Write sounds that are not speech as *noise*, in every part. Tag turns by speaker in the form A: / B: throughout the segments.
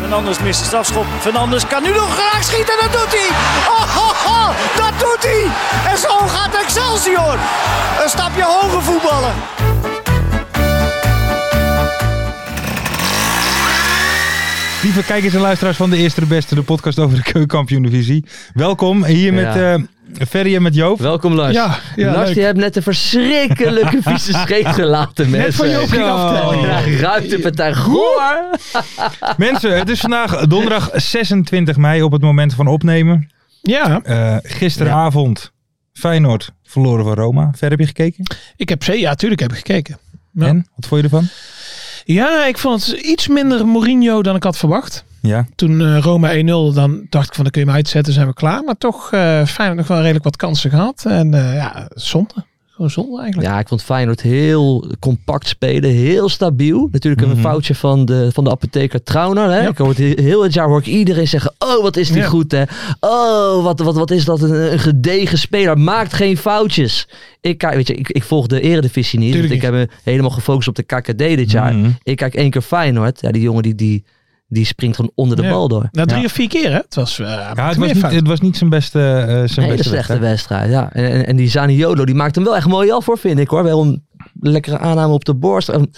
A: Fernandes mist de strafschop. Fernandes kan nu nog graag schieten. Dat doet hij. Oh, oh, oh, dat doet hij. En zo gaat Excelsior. Een stapje hoger voetballen.
B: Lieve kijkers en luisteraars van de Eerste de Beste, de podcast over de Keukenkampioen-divisie. Welkom hier met
C: Ja.
B: eh, Ferry en met Joop.
C: Welkom Lars.
B: Ja, ja,
C: Lars,
B: leuk.
C: je hebt net een verschrikkelijke vieze scheet
B: *laughs*
C: gelaten, mensen.
B: van Joop ging aftellen.
C: Ja, ruikt de partij goor.
B: Mensen, het is vandaag donderdag 26 mei op het moment van opnemen.
D: Ja,
B: Eh, gisteravond Feyenoord verloren van Roma. Ver heb je gekeken?
D: ik heb ze, ja, tuurlijk heb ik gekeken. Ja.
B: En? Wat vond je ervan?
D: Ja, ik vond het iets minder Mourinho dan ik had verwacht.
B: Ja.
D: Toen eh, Roma 1-0, dan dacht ik van, dan kun je hem uitzetten, zijn we klaar. Maar toch, eh Feyenoord nog wel redelijk wat kansen gehad. En eh, ja, zonde. Gewoon zonde eigenlijk.
C: Ja, ik vond Feyenoord heel compact spelen, heel stabiel. Natuurlijk een foutje van de, van de apotheker Trauner. Hè?
D: Mhm. Ja.
C: Ik hoor het he- heel het jaar hoor ik iedereen zeggen, oh wat is die
D: Ja.
C: goed hè. Oh, wat, wat, wat is dat een, een gedegen speler, maakt geen foutjes. Ik, kijk- weet je, ik, ik volg de eredivisie niet,
D: Tuurlijk
C: want ik heb me helemaal gefocust op de KKD dit jaar.
B: Mhm.
C: Ik kijk één keer Feyenoord, ja, die jongen die, die, die springt gewoon onder de
D: Ja.
C: bal door.
D: Na drie
B: Ja.
D: of vier keer, hè? Het was, eh,
B: Ja, het,
D: meer
B: was niet,
D: fout.
B: het was niet zijn beste, eh, zijn
C: Een hele
B: beste
C: slechte
B: wedstrijd.
C: wedstrijd, ja. En, en, en die Zaniolo, die maakt hem wel echt mooi af hoor, vind ik hoor. Wel een lekkere aanname op de borst. Een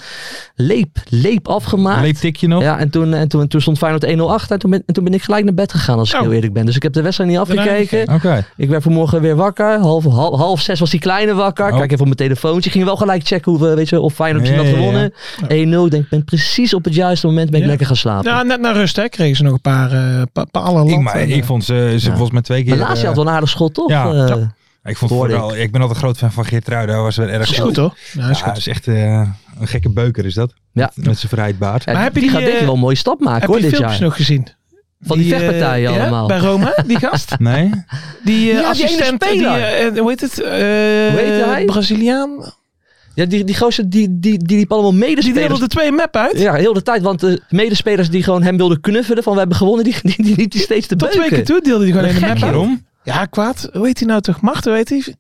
C: leep, leep afgemaakt.
B: Leeptikje nog.
C: Ja, en toen, en toen, toen stond Feyenoord 1-0 achter. En toen ben, en toen ben ik gelijk naar bed gegaan, als ik
D: Oh.
C: heel eerlijk ben. Dus ik heb de wedstrijd niet
D: Daarna niet
C: afgekeken.
B: Oké.
C: Ik werd vanmorgen weer wakker. Half, half, half zes was die kleine wakker.
B: Oh.
C: Kijk even op mijn telefoontje. Ging wel gelijk checken hoe, we- weet je, of Feyenoord misschien
B: Ja,
C: had
B: ja, ja.
C: gewonnen. 1-0. Ik denk, ben precies op het juiste moment ben ik
D: Ja.
C: lekker gaan slapen.
D: Ja, net naar rust, hè? Kregen ze nog een paar eh pa palen
B: Ik,
D: latten.
B: maar, ik vond ze, ze volgens mij twee keer...
C: maar Lazio
B: eh,
C: had wel een aardig schot, toch?
B: ja.
C: Eh,
B: Ja. ik, vond
C: hoorde
B: vooral, ik ben altijd groot fan van Geert Hij was wel erg
D: is goed, hoor. Ja, is
B: Ja,
D: goed.
B: is echt eh, een gekke beuker is dat.
C: Ja.
B: Met, met zijn vrijheid
C: Ja,
D: Maar heb
C: die
D: je die,
C: gaat denk ik
D: eh,
C: wel een mooie stap maken
D: Heb
C: hoor,
D: je die
C: dit
D: filmpjes
C: jaar.
D: nog gezien?
C: Van die,
D: eh,
C: vechtpartijen
D: ja,
C: allemaal.
D: bij
C: *laughs*
D: Roma, die gast.
B: Nee?
D: Die
C: Ja, die
D: eh,
C: ene
D: assistent, die,
C: speler.
D: eh, eh, hoe heet het? Eh,
C: heet hij?
D: Braziliaan.
C: Ja, die, die gozer die, die, die liep allemaal
D: Die
C: medespelers.
D: deelde de twee map uit.
C: ja, heel de tijd. Want de medespelers die gewoon hem wilden knuffelen van we hebben gewonnen, die, die, die liep die steeds te
D: Tot
C: beuken.
D: twee keer toe deelde hij gewoon
C: Wat gek,
D: een map
C: joh.
D: uit.
B: Waarom?
D: Ja, kwaad. Hoe heet hij nou toch? Machten, weet hij? Waar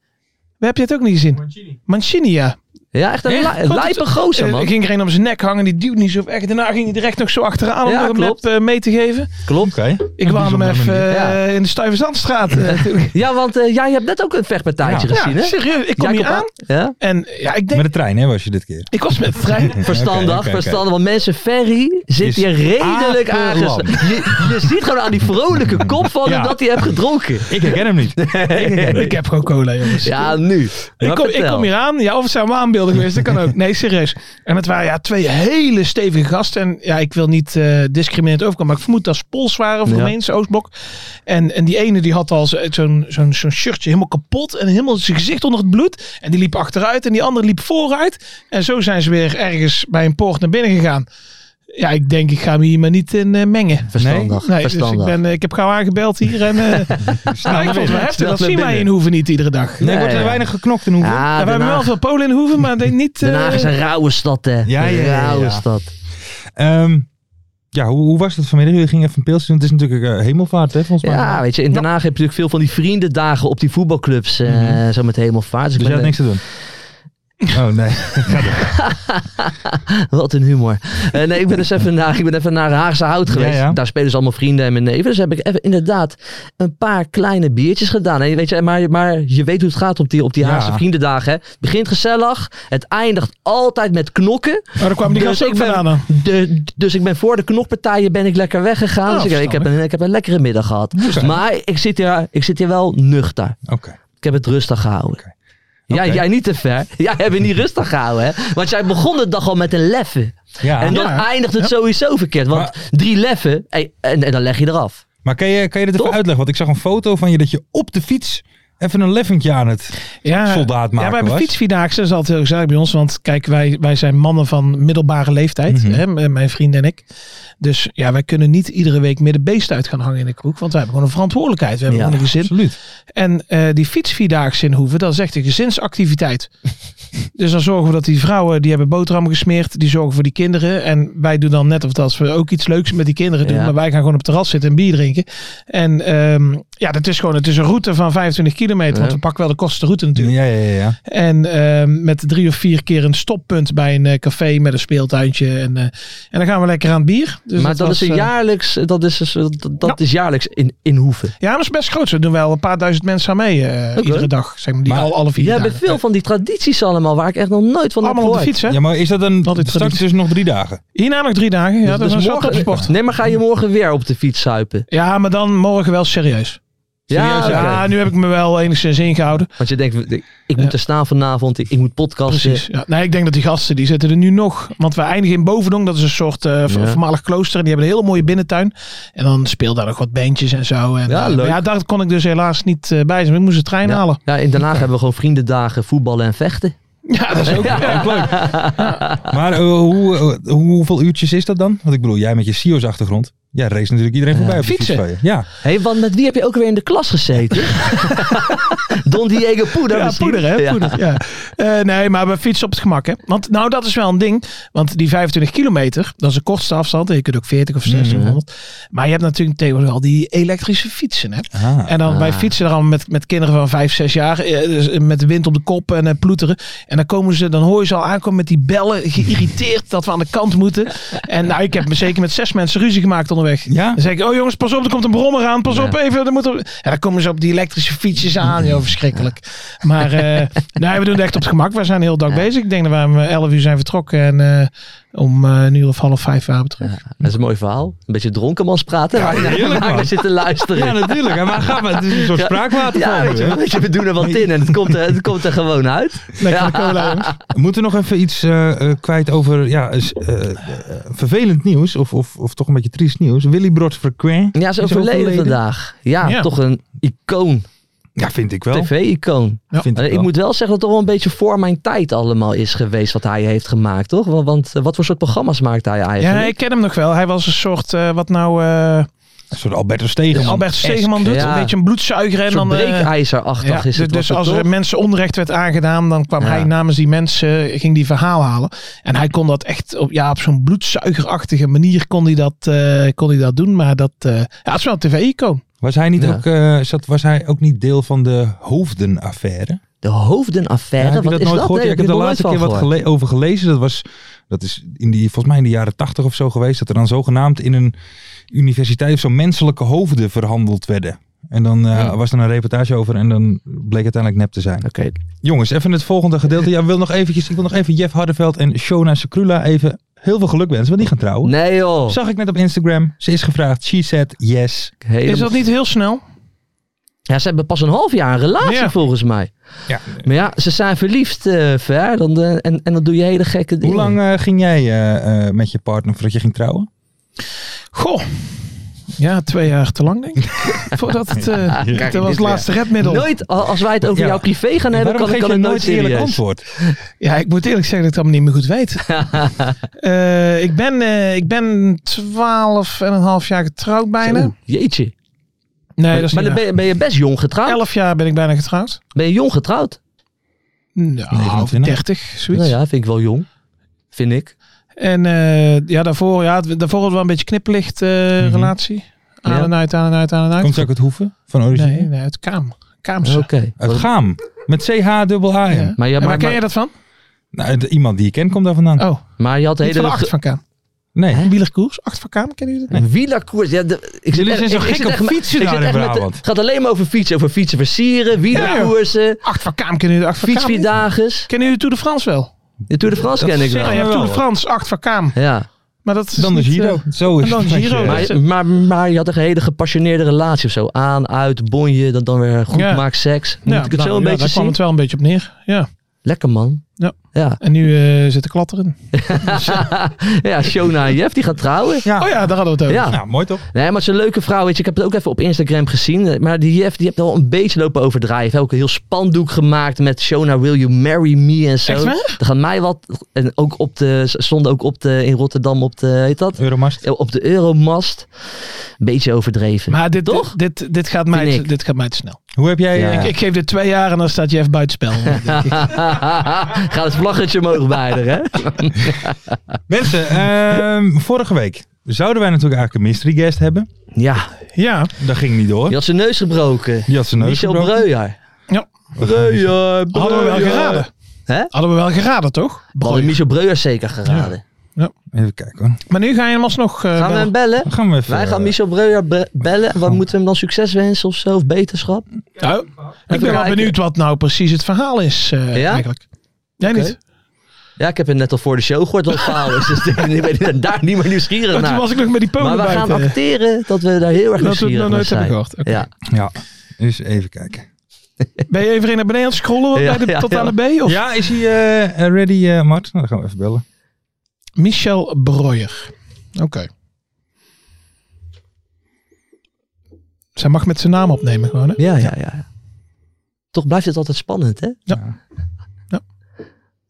D: heb je het ook niet gezien? Mancini. Mancini, ja.
C: Ja, echt een
D: Echt?
C: li- een
D: Goed,
C: lijpe gozer
D: Eh, *laughs*
C: man.
D: ging er een om zijn nek hangen, die duwt niet zo echt. Daarna ging hij direct nog zo achteraan
C: Ja,
D: om hem
C: klopt.
D: net, eh, mee te geven.
C: Klopt.
B: Oké.
D: Ik wou hem even
B: bijzondere
C: manier.
D: eh, in de Stuyvesantstraat. eh, toen-
C: Ja, want eh, jij hebt net ook een vechtpartijtje
B: Ja.
C: *laughs* gezien
D: ja,
C: hè?
D: serieus. Ik kom
C: Jacob
D: hier aan.
C: Ja?
D: *laughs* En ja, ik denk,
B: Met de trein hè, was je dit keer.
D: ik was met de trein.
C: Verstandig,
B: Oké, oké, oké.
C: verstandig. Want mensen, Ferry zit
B: Is
C: hier redelijk
B: apenlam.
C: aangesloten. Je, je ziet gewoon aan die vrolijke kop van hem
B: *laughs* Ja.
C: dat hij heeft gedronken.
B: *laughs* Ik
C: *laughs*
B: herken hem niet. *laughs*
D: Ik heb gewoon cola, jongens.
C: Ja, nu.
D: Ik
C: Maar
D: kom, ik
C: vertel.
D: kom hier aan. Ja, of het zijn waanbeelden geweest. Dat kan ook. Nee, serieus. En het waren ja, twee hele stevige gasten. En ja, ik wil niet eh discriminerend overkomen. Maar ik vermoed dat ze Pools waren. Van
C: Ja.
D: Roemeense Oostblok. En, en die ene die had al zo- zo'n zo'n zo'n shirtje helemaal kapot. En helemaal zijn gezicht onder het bloed. En die liep achteruit. En die andere liep vooruit. En zo zijn ze weer ergens bij een poort naar binnen gegaan. Ja, ik denk ik ga me hier maar niet in eh, mengen.
C: Verstandig,
D: Nee, dus ik,
C: verstandig.
D: ben, eh, ik heb gauw aangebeld hier. En,
C: *laughs*
D: eh, nou, ik vond het wel heftig.
C: Snel
D: Dat
C: naar
D: zien wij
C: binnen.
D: in Hoeven niet iedere dag.
B: Nee,
C: Nee,
B: wordt er
C: ja.
B: weinig geknokt in hoeveel.
C: Ah,
D: Ja, we
C: Den
D: hebben wel
C: Haag.
D: veel Polen in
C: *laughs*
D: Hoeven, maar ik denk niet.
C: Den Haag is
D: eh,
C: een rauwe stad, hè?
B: ja, ja, ja,
C: Rauwe
B: ja.
C: stad.
B: Ehm, ja, hoe, hoe was dat vanmiddag? Jullie gingen even een pilsje doen. Het is natuurlijk eh, hemelvaart hè, volgens mij.
C: Ja, weet je, in Den Haag heb je natuurlijk veel van die vriendendagen op die voetbalclubs, eh, zo met hemelvaart. Dus
B: dus
C: ik
B: je had
C: ben,
B: niks te doen? Oh nee.
C: wat een humor. Eh, nee, ik ben dus even naar, ik ben even naar Haagse Hout geweest.
B: ja.
C: Daar spelen ze allemaal vrienden en mijn neven. Dus heb ik even inderdaad een paar kleine biertjes gedaan. En weet je, maar, maar je weet hoe het gaat op die, op die
B: Ja.
C: Haagse vriendendagen. Hè. Het begint gezellig, het eindigt altijd met knokken.
D: Oh, daar kwam die
C: Dus
D: gast ook
C: ik ben-
D: vandaan. dan.
C: De, dus ik ben voor de knokpartijen ben ik lekker weggegaan.
D: Ah,
C: dus ik, ik, heb
D: verstandig.
C: een, ik heb een lekkere middag gehad.
B: Woensdag.
C: Maar ik zit, hier, ik zit hier wel nuchter.
B: Oké.
C: Ik heb het rustig gehouden. Jij, jij niet te ver. Jij hebt je niet rustig gehouden, hè? Want jij begon de dag al met een leffen.
B: Ja.
C: en dan
D: Ah, Ja.
C: eindigt het sowieso verkeerd. Want drie leffen, hey, en, en dan leg je
D: Dus
C: eraf.
B: Maar kan je, kan je dit even
C: Toch?
B: uitleggen? Want ik zag een foto van je dat je op de fiets even een leffentje aan het
D: ja,
B: soldaat maken
D: Ja, wij hebben
B: was.
D: fietsvierdaagse, dat is altijd heel gezellig bij ons. Want kijk, wij, wij zijn mannen van middelbare leeftijd.
B: Mhm.
D: hè, m- mijn vriend en ik. Dus ja, wij kunnen niet iedere week midden beest uit gaan hangen in de kroeg. Want wij hebben gewoon een verantwoordelijkheid. We hebben
C: Ja,
D: gewoon een gezin.
B: Absoluut.
D: En eh, die fietsvierdaagse in Hoeven, dat is echt een
B: *laughs*
D: gezinsactiviteit. dus dan zorgen we dat die vrouwen, die hebben boterhammen gesmeerd. Die zorgen voor die kinderen. En wij doen dan net of dat we ook iets leuks met die kinderen doen.
C: Ja.
D: Maar wij gaan gewoon op het terras zitten en bier drinken. En ehm, ja, dat is gewoon, het is een route van 25 kilometer. Want
C: Ja.
D: we pakken wel de kortste route natuurlijk.
B: Ja, ja, ja, ja.
D: En ehm, met drie of vier keer een stoppunt bij een eh, café met een speeltuintje. En, eh, en dan gaan we lekker aan het bier. Dus
C: maar dat,
D: was,
C: is een
D: eh,
C: jaarlijks, dat is, dus- dat, dat is jaarlijks in, in Hoeven.
D: ja, dat is best groot. Ze doen wel een paar duizend mensen aan mee eh,
C: Oké.
D: iedere dag. Zeg maar, die
B: Maar
D: al, alle vier
C: Jij
D: dagen. Eh.
C: hebt veel van die tradities allemaal waar ik echt nog nooit van
D: Allemaal
C: heb
D: op de
C: gehoord.
D: fiets, hè?
B: Ja, maar is dat een...
D: Wat is
B: Straks
D: traditie?
B: dus nog drie dagen.
D: Hierna nog drie dagen. Ja, dat
C: Dus
D: is wel
C: morgen-
D: topsport.
C: Nee, maar ga je morgen weer op de fiets suipen?
D: Ja, maar dan morgen wel serieus.
C: Ja,
D: Serieus,
C: oké.
D: ja, nu heb ik me wel enigszins ingehouden.
C: Want je denkt, ik, ik
D: Ja.
C: moet er staan vanavond, ik, ik moet podcasten.
D: Precies. Ja. Nee, ik denk dat die gasten, die zitten er nu nog. Want we eindigen in Bovendong. Dat is een soort eh, v-
C: Ja.
D: voormalig klooster. En die hebben een hele mooie binnentuin. En dan speelt daar nog wat bandjes en zo. En,
C: Ja,
D: eh,
C: leuk.
D: ja, daar kon ik dus helaas niet eh, bij zijn. want Ik moest de trein
C: Ja.
D: halen.
C: ja, in Den Haag hebben we gewoon vriendendagen, voetballen en vechten.
D: Ja, dat is
C: *laughs*
D: ook
C: Ja.
B: Maar eh, hoe, eh, hoe- hoeveel uurtjes is dat dan? Want ik bedoel, jij met je CIO's achtergrond. Ja, race natuurlijk iedereen voorbij op de
D: Fietsen.
B: fiets van je. Ja.
C: hey, want met wie heb je ook weer in de klas *laughs* gezeten? Don Diego Poeder
D: Ja,
C: misschien?
D: poeder, hè?
C: Ja.
D: Poeder, ja. Eh, nee, maar we fietsen op het gemak, hè? Want nou, dat is wel een ding. Want die 25 kilometer, dat is de kortste afstand. Je kunt ook 40 of
B: Mhm.
D: 1600. Maar je hebt natuurlijk tegenwoordig al die elektrische fietsen, hè?
B: Ah.
D: En dan wij fietsen daar allemaal met, met kinderen van 5, 6 jaar. eh, dus, eh, met de wind op de kop en eh, ploeteren. En dan komen ze, dan hoor je ze al aankomen met die bellen. Geïrriteerd dat we aan de
B: *laughs*
D: kant moeten. En nou, ik heb me zeker met zes mensen ruzie gemaakt onderweg.
B: Ja?
D: Dan zeg ik, oh jongens, pas op, er komt een brommer aan. Pas op, even. Er moet er... En dan komen ze op die elektrische fietsjes aan. Joh, verschrikkelijk.
C: *laughs*
D: Maar eh, nee, we doen het echt op het gemak. We zijn heel dag bezig. Ik denk dat we om eh, 11 uur zijn vertrokken. En eh, om eh, een uur of half vijf waren we terug.
C: Dat is een mooi verhaal. Een beetje dronkenmans praten. nou- waar je
B: heerlijk,
C: naar
B: man.
C: zitten luisteren.
B: Ja, natuurlijk. hè. Maar ga maar. Het is een soort spraakwater
C: Ja,
B: voor
C: weet
B: me,
C: je,
B: hè.
C: weet je, we doen er wat in en het komt er, het komt er gewoon uit.
D: Lekker de
C: *laughs*
D: cola, jongens.
B: Moeten we nog even iets eh, eh, kwijt over ja, is, eh, eh, vervelend nieuws? Of, of, of toch een beetje triest nieuws? Willy Brod Frequin.
C: Ja, ze
B: Is
C: overleden,
B: overleden?
C: vandaag. Ja,
D: Ja.
C: toch een icoon.
B: Ja, vind ik wel.
C: TV-icoon.
D: Ja.
B: Vind ik
C: Eh, Ik
B: wel.
C: moet wel zeggen dat het wel een beetje voor mijn tijd allemaal is geweest wat hij heeft gemaakt, toch? Want, want, eh, wat voor soort programma's maakt hij eigenlijk?
D: Ja, ik ken hem nog wel. Hij was een soort, eh, wat nou... eh,
B: Een soort Albertus Stegeman.
D: Albert Stegeman doet.
C: Ja.
D: Een beetje een bloedzuiger. En
C: Een soort
D: dan, eh,
C: breekijzerachtig
D: ja,
C: is het.
D: dus
C: was
D: als
C: het
D: er
C: toch?
D: mensen onrecht werd aangedaan, dan kwam
C: Ja.
D: hij namens die mensen, eh, ging die verhaal halen. En hij kon dat echt op, ja, op zo'n bloedzuigerachtige manier kon hij dat, eh, kon hij dat doen. Maar dat, eh, ja, het is wel een tv-icoon.
B: Was hij, niet
C: Ja.
B: ook, eh, zat, was hij ook niet deel van de hoofdenaffaire?
C: De hoofdenaffaire,
B: Ja, heb je
C: wat
B: dat
C: is
B: nooit
C: dat?
B: gehoord?
C: Nee,
B: Ja, ik heb
C: er
B: de laatste
C: nooit
B: keer
C: van
B: wat
C: gehoord.
B: gele- over gelezen. Dat, was, dat is in die, volgens mij in de jaren tachtig of zo geweest. Dat er dan zogenaamd in een universiteit of zo menselijke hoofden verhandeld werden. En dan eh,
C: Ja.
B: was er een reportage over en dan bleek uiteindelijk nep te zijn.
C: Oké,
B: Jongens, even het volgende gedeelte. Ja, wil nog eventjes, ik wil nog even Jeff Hardeveld en Shona Sekrula even heel veel geluk wensen. Want die gaan trouwen.
C: nee joh.
B: Zag ik net op Instagram. Ze is gevraagd. She said yes.
C: Helemaal-
D: Is dat niet heel snel?
C: Ja, ze hebben pas een half jaar een relatie
D: Ja.
C: volgens mij.
B: Ja.
C: Maar ja, ze zijn verliefd eh, ver dan de- en, en dan doe je hele gekke
B: Hoe
C: dingen.
B: lang eh, ging jij eh, eh, met je partner voordat je ging trouwen?
D: Goh. Ja, twee jaar te lang
C: *laughs*
D: denk ik. Voordat het, eh, dat was
C: dit
D: het laatste redmiddel.
C: Nooit, al- als wij het over
B: eh, Ja.
C: jouw privé gaan hebben,
B: Waarom
C: kan ik
B: geef
C: kan
B: je
C: het nooit
B: nooit eerlijk
C: serieus.
B: antwoord?
D: Ja, ik moet eerlijk zeggen dat ik het allemaal niet meer goed weet.
C: *laughs*
D: Eh, ik ben, eh ik ben twaalf en een half jaar getrouwd bijna.
C: Oeh, jeetje.
D: Nee, dat is
C: maar
D: niet
C: dan
D: waar.
C: ben je, ben je best jong getrouwd.
D: Elf jaar ben ik bijna getrouwd.
C: Ben je jong getrouwd?
D: Nou,
B: 29.
D: 30, zoiets.
C: Nou Mm, ja, vind ik wel jong. Vind ik.
D: En eh, ja, daarvoor, ja, het- daarvoor hadden we wel een beetje kniplicht eh, relatie. Aan
C: Ja.
D: en uit, aan en uit, aan en uit.
B: Komt ze ook uit Hoeven? Van origine?
D: nee, nee, uit Kaam. Kaamse.
C: Oké.
B: Uit Gaam. Met C-H-A-M.
D: Ja.
C: Maar, ja,
D: En
C: maar,
D: waar ken
C: maar,
D: je dat van?
B: Nou, de- iemand die ik ken komt daar vandaan.
D: Oh,
C: maar je had de
D: niet
C: hele...
D: van de acht van Kaam.
B: Nee.
C: Hè?
D: Wielerkoers, acht van Kaam, kennen jullie dat?
C: Een wielerkoers. Ja, de, ik
B: Jullie
C: echt-
B: zijn zo
C: ik- ik
B: gek
C: zit
B: op
C: echt met-
B: fietsen
C: ik
B: daar
C: zit
B: in
C: echt met de-
B: Brabant.
C: Het gaat alleen maar over fietsen. Over fietsen versieren, wielerkoersen,
D: Acht van Kaam, kennen jullie de acht van Kaam? niet?
C: fietsvierdages.
D: Kennen jullie de Tour de France wel?
C: De Tour de France
B: Dat
C: ken ik
B: zeg
D: Ja,
C: wel.
D: je hebt
B: wel,
D: Tour de
B: hoor.
D: France, acht van Kaam.
C: Ja.
D: Maar dat is
B: Dan de
D: niet,
B: Giro.
D: eh,
B: Zo is
D: en dan
B: het.
D: Giro.
B: Ja.
D: Dus,
C: Maar, maar, maar je had echt een hele gepassioneerde relatie of zo. Aan, uit, bonje, dan, dan weer goed
D: Ja.
C: maak seks. Moet
D: ja,
C: ik het
D: nou,
C: zo een
D: ja,
C: beetje
D: daar kwam
C: zien?
D: het wel een beetje op neer. Ja.
C: Lekker man.
D: Ja.
C: Ja,
D: En nu eh, zit de klatter in.
C: ja Shona en Jeff, die gaat trouwen.
B: Ja.
D: Oh ja, daar hadden we het over.
C: Ja.
B: Nou, mooi toch?
C: Nee, maar het is een leuke vrouw. Weet je, ik heb het ook even op Instagram gezien. eh, Maar die Jeff, die heeft al een beetje lopen overdrijven. Hij heeft ook een heel spandoek gemaakt met Shona, will you marry me en zo.
D: Echt waar?
C: Er gaan mij wat. En ook op de, stonden ook op de, in Rotterdam op de, heet dat?
B: Euromast.
C: Op de Euromast. Een beetje overdreven.
D: Maar dit,
C: Toch?
D: Dit, dit, dit, gaat mij,
C: Vind
D: te-
C: ik.
D: dit gaat mij te snel.
B: Hoe heb jij...
C: Ja.
B: eh,
D: Ik, ik geef dit twee jaar en dan staat Jeff buitenspel.
C: *laughs* Gaat het vlaggetje omhoog bij haar, hè?
B: Mensen, ehm, vorige week zouden wij natuurlijk eigenlijk een mystery guest hebben.
C: Ja,
D: ja.
B: Dat ging niet door.
C: die had zijn neus gebroken.
B: Die had zijn neus
C: Michel
B: gebroken.
C: Breuer.
D: ja.
C: Breuer,
D: Hadden we wel geraden.
C: Hè?
D: Hadden we wel geraden, toch?
C: Hadden Michel Breuer zeker geraden.
B: Even kijken hoor.
D: Maar nu ga je hem alsnog... eh,
C: Gaan we hem
D: bellen.
C: bellen?
B: Dan gaan we even...
C: Wij gaan
B: eh, oh.
C: Michel Breuer be- bellen. Wat moeten we hem dan succes wensen of zo? Of beterschap?
D: Nou, ik ben wel
C: kijken.
D: benieuwd wat nou precies het verhaal is eh,
C: Ja?
D: eigenlijk. Jij
C: Oké.
D: niet? Oh,
C: Ja, ik heb het net al voor de show gehoord wat het verhaal is. Dus *laughs* ik ben hier- daar niet meer nieuwsgierig
D: Maar Toen
C: naar.
D: was ik nog met die
C: Nou, Maar
D: polen
C: we gaan
D: buiten.
C: acteren dat we daar heel erg
D: Dat we het
C: nieuwsgierig
D: nog
C: naar
D: nooit hebben
C: zijn.
D: gehoord. Oké.
C: Ja.
B: Ja, dus even kijken.
D: Ben je even naar beneden aan het scrollen
C: Ja,
D: bij de,
C: ja,
D: tot
C: ja.
D: aan de B? Of?
B: Ja, is hij eh, ready, eh, Mart? Nou, dan gaan we even bellen.
D: Michel Breuer. Oké. Zij mag met zijn naam opnemen gewoon, hè?
C: Ja, ja, ja. Toch blijft het altijd spannend, hè?
D: Ja. Ja. Dus,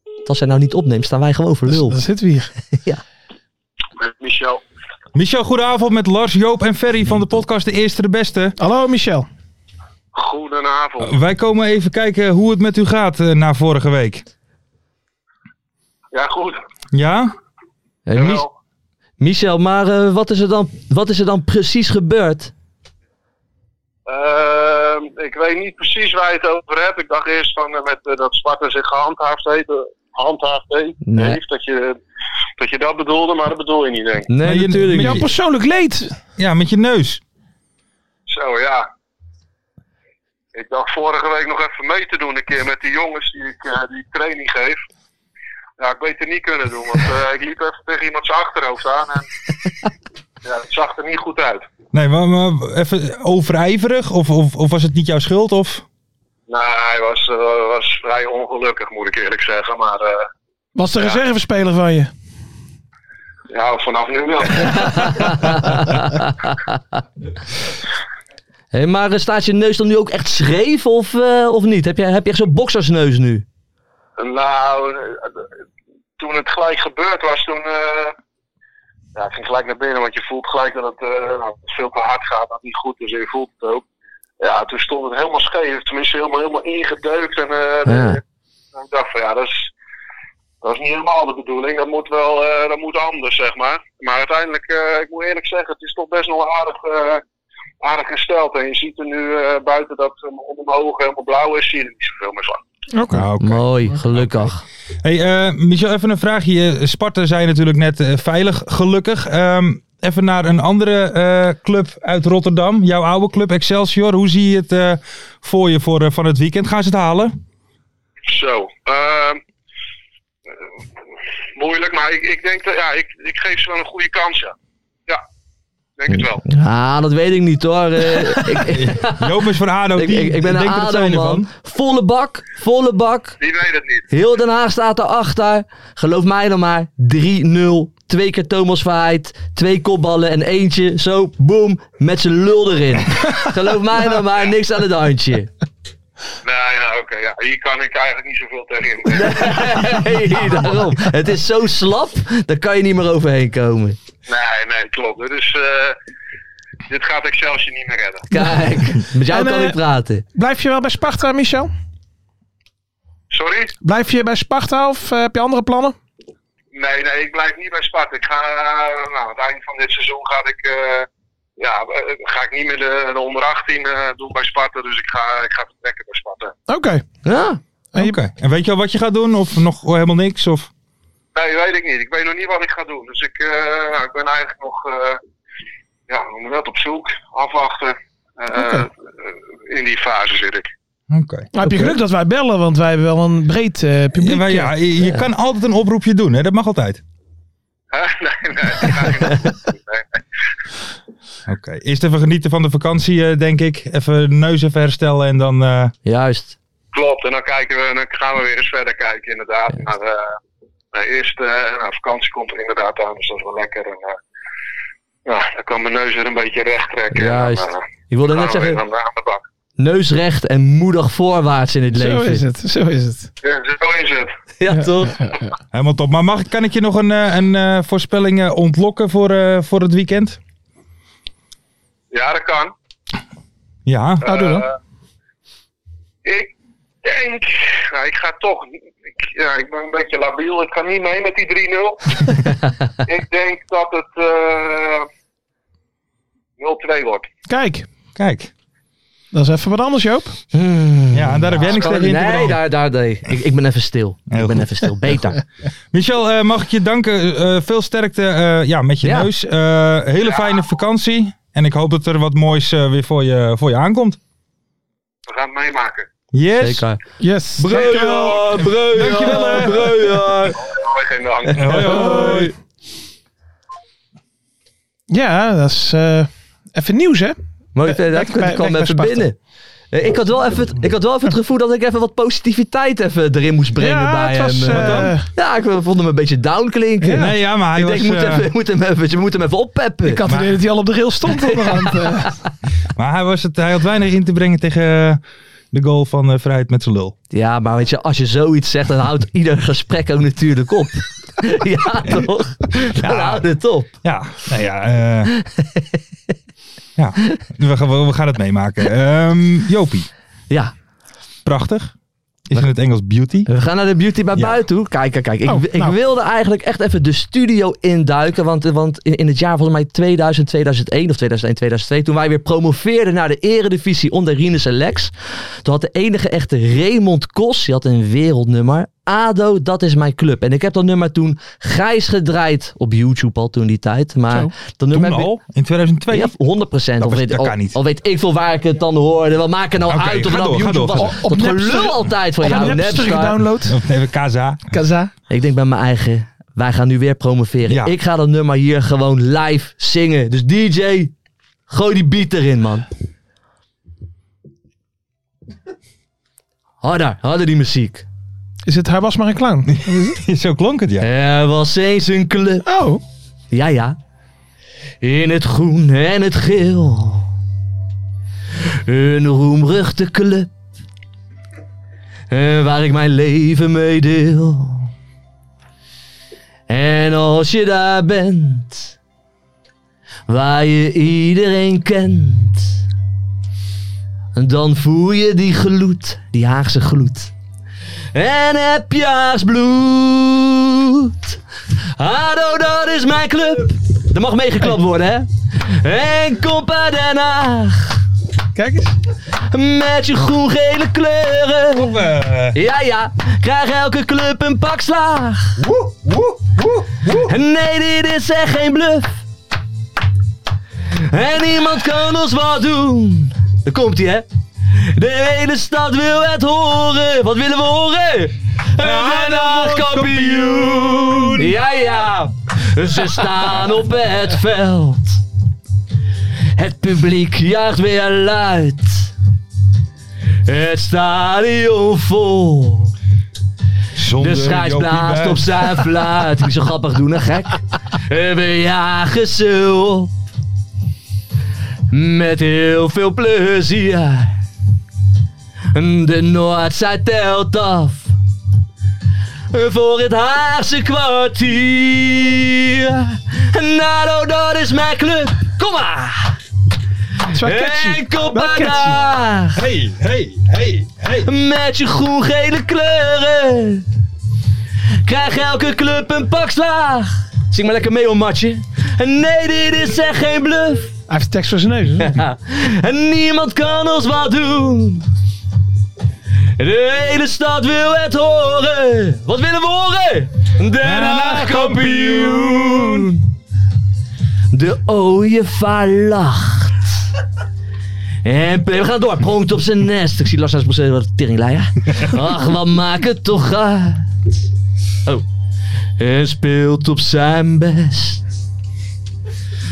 C: Want Als hij nou niet opneemt, staan wij gewoon voor lul.
D: Dan zitten we hier.
E: Michel.
B: Michel, goedenavond met Lars, Joop en Ferry van de podcast De Eerste de Beste.
D: Hallo Michel.
E: Goedenavond.
B: Wij komen even kijken hoe het met u gaat eh, na vorige week.
E: Ja, goed.
B: Ja?
D: eh,
C: Hey, Mi-
E: Jawel.
C: Michel, maar eh, wat, is er dan, wat is er dan precies gebeurd?
E: Ehm, ik weet niet precies waar je het over hebt. Ik dacht eerst van, eh, met, eh, dat Sparta zich gehandhaafd heeft. eh, handhaafd heeft,
C: Nee.
E: heeft, dat, je, dat je dat bedoelde, maar dat bedoel je niet, denk ik.
C: Nee,
B: Maar je-
C: natuurlijk
B: met
D: Jouw
C: niet.
D: persoonlijk leed.
B: Ja, met je neus.
E: Zo, ja. Ik dacht vorige week nog even mee te doen een keer met die jongens die ik eh, die ik training geef. Ja, ik weet het niet kunnen doen, want eh, ik liep even tegen iemand zijn achterhoofd aan en ja, het zag er niet goed uit.
B: Nee, maar, maar even overijverig? Of, of, of was het niet jouw schuld? Of?
E: Nee, hij was, eh, was vrij ongelukkig, moet ik eerlijk zeggen, maar... eh,
D: Was de reservespeler van je.
E: Ja, vanaf nu wel.
C: Hey, maar eh, staat je neus dan nu ook echt schreef of, eh, of niet? Heb je, heb je echt zo'n boksersneus nu?
E: nou, eh, toen het gelijk gebeurd was, toen... eh, ja, ik ging gelijk naar binnen, want je voelt gelijk dat het eh, nou, veel te hard gaat, dat het niet goed is. en Je voelt het ook. Ja, toen stond het helemaal scheef. Tenminste, helemaal, helemaal ingedeukt. En eh,
C: Ja.
E: en ik dacht van, ja, dat is... Dat is niet helemaal de bedoeling. Dat moet wel eh, dat moet anders, zeg maar. Maar uiteindelijk, eh, ik moet eerlijk zeggen, het is toch best nog aardig, eh, aardig gesteld. En je ziet er nu eh, buiten dat hem omhoog helemaal blauw is, zie je er niet zoveel meer van.
B: Nou, oké.
C: Mooi, gelukkig.
B: Hey, eh, Michel, even een vraagje. Eh, Sparta zijn natuurlijk net eh, veilig, gelukkig. Ehm, even naar een andere eh, club uit Rotterdam. Jouw oude club, Excelsior. Hoe zie je het eh, voor je voor, eh, van het weekend? Gaan ze het
C: *laughs*
B: halen?
E: Zo. ehm, eh, moeilijk, maar ik, ik denk dat ja, ik, ik geef ze wel een goede kans. Ja, ja denk het wel.
C: Ah, dat weet ik niet hoor. Eh, ik, ik,
B: Joop is van ADO.
C: ik, ik ben een
B: denk dat
C: ADO
B: zijn
C: man.
B: ervan.
C: Volle bak, volle bak.
E: Die weet het niet.
C: Heel Den Haag staat erachter. Geloof mij dan maar. 3-0. Twee keer Thomas Verheid. Twee kopballen en eentje. Zo, boom. Met zijn lul erin. Geloof mij dan maar. Niks aan het handje. *laughs*
E: Nou ja, oké. ja. Hier kan ik eigenlijk niet zoveel tegen in.
C: Hey, daarom. Het is zo slap. Daar kan je niet meer overheen komen.
E: Nee, nee, klopt. Dus eh, dit gaat Excelsior niet meer redden.
C: Kijk. Met jou
D: En,
C: kan
D: eh,
C: ik praten.
D: Blijf je wel bij Sparta, Michel? Nou,
E: Sorry?
D: Blijf je bij Sparta of eh, heb je andere plannen?
E: Nee, nee, ik blijf niet bij Sparta. Ik ga, eh, nou, aan het eind van dit seizoen ga ik, eh, ja, eh, ga ik niet meer de, de onder 18 eh, doen bij Sparta. Dus ik ga, ik ga vertrekken bij Sparta.
D: Oké.
C: Ja.
D: En
B: Oké.
D: je-
B: En weet je al wat je gaat doen? Of nog helemaal niks? Of...
E: Nee, weet ik niet. Ik weet nog niet wat ik ga doen. Dus ik, eh, nou, ik ben eigenlijk nog eh ja, nog net op zoek, afwachten. Eh, eh, in die fase zit ik.
B: Oké.
D: Nou, heb je geluk dat wij bellen, want wij hebben wel een breed eh, publiek.
B: Ja, maar ja, je je kan altijd een oproepje doen, hè? dat mag altijd.
F: Hè? *laughs* Nee, nee, *laughs* dat ga ik niet doen. Nee, nee.
B: Oké, eerst even genieten van de vakantie, eh, denk ik. Even neus even herstellen en dan... eh,
C: Juist.
F: Klopt, en dan, kijken we, dan gaan we weer eens verder kijken, inderdaad. Maar eh, nou, eerst, eh, nou, vakantie komt er inderdaad aan, dus dat is wel lekker. En, eh, ja, dan kan mijn neus weer een beetje recht trekken.
C: Juist.
F: En, dan, eh,
C: Ik wilde
F: gaan
E: Nou,
C: net
F: we weer
C: zeggen,
F: aan, de- aan de bak.
C: neus recht en moedig voorwaarts in het
D: Zo
C: leven.
D: is het, zo is het.
F: Ja, zo is het.
C: Ja, toch?
B: Helemaal top. Maar mag, ik- kan ik je nog een, eh, een eh, voorspelling eh, ontlokken voor, eh, voor het weekend?
F: Ja, dat kan.
B: Ja.
D: Nou, doe dan.
F: Eh, ik denk, nou, ik ga toch, ik, ja, ik ben een beetje labiel, ik ga niet mee met die 3-0. ik denk dat het eh 0-2 wordt.
D: Kijk,
B: Kijk.
D: dat is even wat anders, Joop.
B: Ja, en daar heb jij niks tegen in te
C: Nee,
B: brengen.
C: daar, daar, nee. Ik, ik ben even stil.
B: Heel
C: ik ben
B: goed.
C: even stil.
B: *laughs*
C: Beter.
B: Michel, eh, mag ik je danken. Eh, veel sterkte eh, ja, met je
C: Ja.
B: neus. Eh, hele fijne vakantie. En ik hoop dat er wat moois eh, weer voor je, voor je aankomt.
F: We gaan het meemaken.
B: Yes.
C: Zeker.
D: Yes.
C: Breuer, Breuer,
B: Dankjewel, hè.
C: Breuer.
F: Hoi, geen dank.
B: Hoi, hoi.
D: Ja, dat is eh, even nieuws, hè?
C: Mooi,
D: Weg-
C: dat
D: weg bij-
C: kwam
D: weg bij
C: even
D: Sparta.
C: binnen. Eh, Ik had, wel even het, ik had wel even het gevoel dat ik even wat positiviteit even erin moest brengen
D: ja,
C: bij
D: het was,
C: hem.
D: eh,
C: Ja, ik vond hem een beetje down klinken.
B: Nee, ja, maar hij
C: ik
B: was...
C: denk, ik moet,
B: eh,
C: even, ik moet hem even, je moet hem even oppeppen.
D: ik had het idee dat hij al op de rail stond onderhand. eh.
B: *laughs* Maar hij, was het, hij had weinig in te brengen tegen eh, de goal van eh Vrijheid met zijn lul.
C: Ja, maar weet je, als je zoiets zegt, dan houdt ieder gesprek ook natuurlijk op. *laughs* ja, toch? Dan houdt het op.
B: Ja, nou ja. eh, *laughs* ja, we gaan, we gaan het meemaken. Ehm, Jopie,
C: Ja,
B: prachtig. Is in het Engels beauty.
C: Eh, we gaan naar de beauty bij
B: Ja.
C: buiten toe. Kijk, kijk, kijk. Ik,
D: Oh,
C: ik
D: nou.
C: wilde eigenlijk echt even de studio induiken. Want, want in, in het jaar volgens mij 2000, 2001 of 2001, 2002... toen wij weer promoveerden naar de eredivisie onder Rinus en Lex... toen had de enige echte Raymond Kos, die had een wereldnummer... ADO, dat is mijn club. En ik heb dat nummer toen grijs gedraaid op YouTube al toen die tijd. Maar
D: Zo.
C: dat nummer
B: Toen
C: heb ik-
B: al, in 2002.
C: Ja, 100 procent.
B: Dat
C: Al,
B: was-
C: weet-
B: dat
C: al,
B: kan niet.
C: al weet ik veel waar ik het dan hoorde. Wat maakt het nou
B: Oké,
C: uit?
B: ga
C: Of het nou
B: door,
C: op
B: ga
C: YouTube
B: door, ga
C: was.
D: door.
C: Dat
D: Op Napster.
C: gelul altijd van
D: Ik heb
C: jou.
D: Napster
B: *laughs*
C: Napster.
D: gedownload.
B: Of nee, Kaza.
D: Kaza.
C: Ik denk bij mijn eigen. Wij gaan nu weer promoveren.
B: Ja.
C: Ik ga dat nummer hier gewoon live zingen. Dus DJ, gooi die beat erin, man. Harder, harder die muziek.
D: Is het Hij was maar een clown?
B: *laughs* Zo klonk het, ja.
C: Er was eens een club.
D: Oh,
C: Ja, ja. In het groen en het geel. Een roemruchte club. eh, Waar ik mijn leven mee deel. En als je daar bent. Waar je iedereen kent. Dan voel je die gloed. Die Haagse gloed. En heb je Haags bloed. Ado, dat is mijn club. Er mag meegeklapt worden, hè? En Compa Den Haag,
D: kijk eens.
C: met je groen-gele kleuren. Ja, ja, krijg elke club een pak slaag. Nee, dit is echt geen bluff. En niemand kan ons wat doen. Daar komt hij, hè? De hele stad wil het horen. Wat willen we horen? Een Den Haag kampioen. Ja, ja. Ze staan op het veld. Het publiek juicht weer luid. Het stadion vol.
B: Zonder
C: De scheids
B: Jopie
C: blaast
B: Buijs.
C: op zijn fluit. Niet zo grappig doen, hè, gek? Eh, We jagen ze op. Met heel veel plezier. De Noordzij telt af. Voor het Haagse kwartier. Nou, dat is mijn club. Kom maar.
D: Het is wel catchy.
C: En kom
D: Wel
C: maar
D: catchy.
C: daar.
B: Hey, hey, hey, hey.
C: Met je groen-gele kleuren. Krijg elke club een pak slaag. Zing maar lekker mee, om matje. Nee, dit is echt geen bluff.
D: Hij heeft tekst voor zijn neus. hè?
C: Ja. En niemand kan ons wat doen. De hele stad wil het horen. Wat willen we horen? Den Haag kampioen. De ooievaar lacht. En P- we gaan door. Pronkt op zijn nest. Ik zie Lars naast me wat teringleier. Ach, wat maakt het toch uit. Oh. en speelt op zijn best.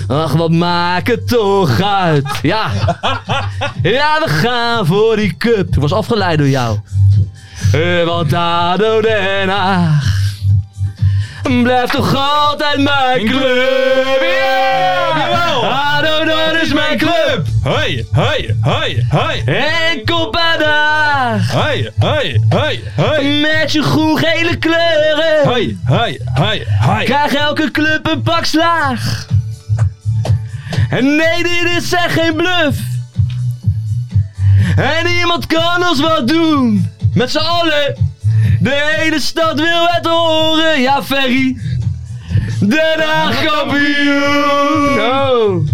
C: Ach, wat maakt het toch uit? Ja. Ja, we gaan voor die cup. Ik was afgeleid door jou. Eh, Want ADO Den Haag blijft toch altijd mijn club. Ja! ADO, dat is mijn club.
B: Hoi, hoi, hoi, hoi.
C: En kop bij dag.
B: Hoi, hoi, hoi, hoi.
C: Met je groen-gele kleuren.
B: Hoi, hoi, hoi, hoi.
C: Krijg elke club een pak slaag. En nee, dit is echt geen bluff. En niemand kan ons wat doen. Met z'n allen. De hele stad wil het horen. Ja, Ferry. Den Haag kampioen. Oh.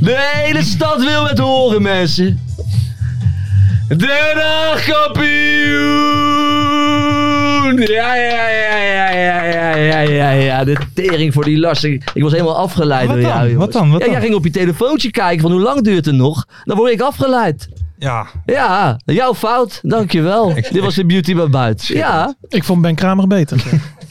C: De hele stad wil het horen, mensen. Den Haag kampioen! Ja, ja, ja, ja, ja, ja, ja, ja, ja. De tering voor die last. Ik ik was helemaal afgeleid
B: Wat
C: door
B: dan?
C: jou, jongens.
B: Wat dan? Wat
C: ja,
B: dan?
C: Jij ging op je telefoontje kijken van hoe lang duurt het nog? Dan word ik afgeleid.
B: Ja,
C: Ja, jouw fout. Dankjewel. Dit was de beauty bij buiten. Ja.
D: Ik vond Ben Kramer
C: *laughs*
D: beter.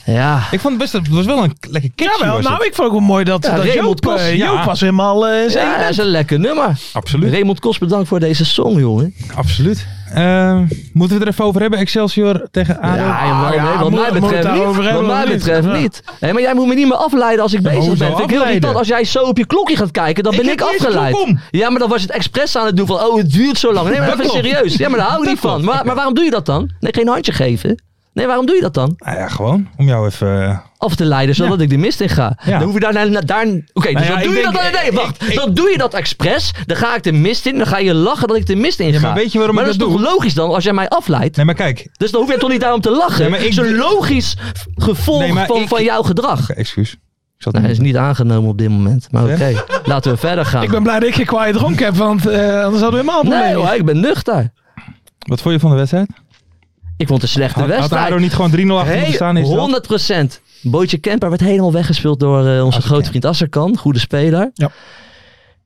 C: Ja.
B: ik vond het best, het was wel een lekker catchy.
D: Jawel,
B: was
D: nou,
B: het.
D: ik vond het wel mooi dat,
C: Ja,
D: dat
C: Raymond
D: Joop, eh,
C: Kos,
D: Joop
B: ja.
D: was helemaal eh zenuwachtig.
C: Ja, dat is een lekker nummer.
B: Absoluut,
C: Raymond Kos, bedankt voor deze song, jongen.
B: absoluut. Ehm, moeten we het er even over hebben? Excelsior tegen ADO?
C: Ja, jawel,
D: ja,
C: nee, wat
D: moet-
C: mij
D: moet het
C: betreft
D: daarover
C: niet. Wat
D: hebben
C: mij
D: of niet?
C: betreft
D: Ja.
C: niet. Nee, maar jij moet me niet meer afleiden als ik bezig
B: hoezo
C: ben. Vind ik heel
B: afleiden?
C: irritant als jij zo op je klokje gaat kijken, dan
B: Ik
C: ben
B: heb
C: ik
B: niet eens
C: afgeleid.
B: klok om.
C: Ja, maar dan was je het expres aan het doen van, oh, het duurt zo lang. Nee, maar
B: Dat
C: even
B: klopt.
C: serieus. Ja, maar daar hou ik
B: Dat
C: niet van.
B: klopt,
C: Maar, maar waarom doe je dat dan? Nee, geen handje geven. Nee, waarom doe je dat dan?
B: Nou ja, gewoon. Om jou even... eh,
C: Af te leiden, zodat ik de mist in ga.
B: Ja. Nou
C: Dan hoef je daar... naar- naar- daar Oké,
B: ja,
C: dus dan
B: ik
C: doe je
B: denk-
C: dat... dan- Nee,
B: ik-
C: wacht.
B: ik-
C: dan doe je dat expres. Dan ga ik de mist in. Dan ga je lachen dat ik de mist in ga.
B: maar weet je waarom
C: maar
B: ik
C: dat
B: dat
C: is
B: doe?
C: toch logisch dan, als jij mij afleidt?
B: Nee, maar kijk.
C: Dus dan hoef je toch niet daarom te lachen.
B: Nee, maar ik-
C: Zo'n logisch gevolg
B: Nee, maar
C: van,
B: ik-
C: van jouw gedrag.
B: Oké, excuus. Ik zat
C: Nou, hij
B: niet-
C: is niet aangenomen op dit moment. Maar oké, laten we verder gaan.
D: Ik ben blij dat ik geen kwaaie dronken heb, want eh, anders hadden we helemaal
C: nee
D: problemen.
C: hoor, ik ben nuchter.
B: Wat vond je van de wedstrijd?
C: Ik vond het een slechte
B: Had, had
C: wedstrijd.
B: ADO niet gewoon 3-0 achter moeten staan? Is dat?
C: 100 Bootje Kemper werd helemaal weggespeeld door eh, onze grote vriend Asserkan. Goede speler.
D: Ja.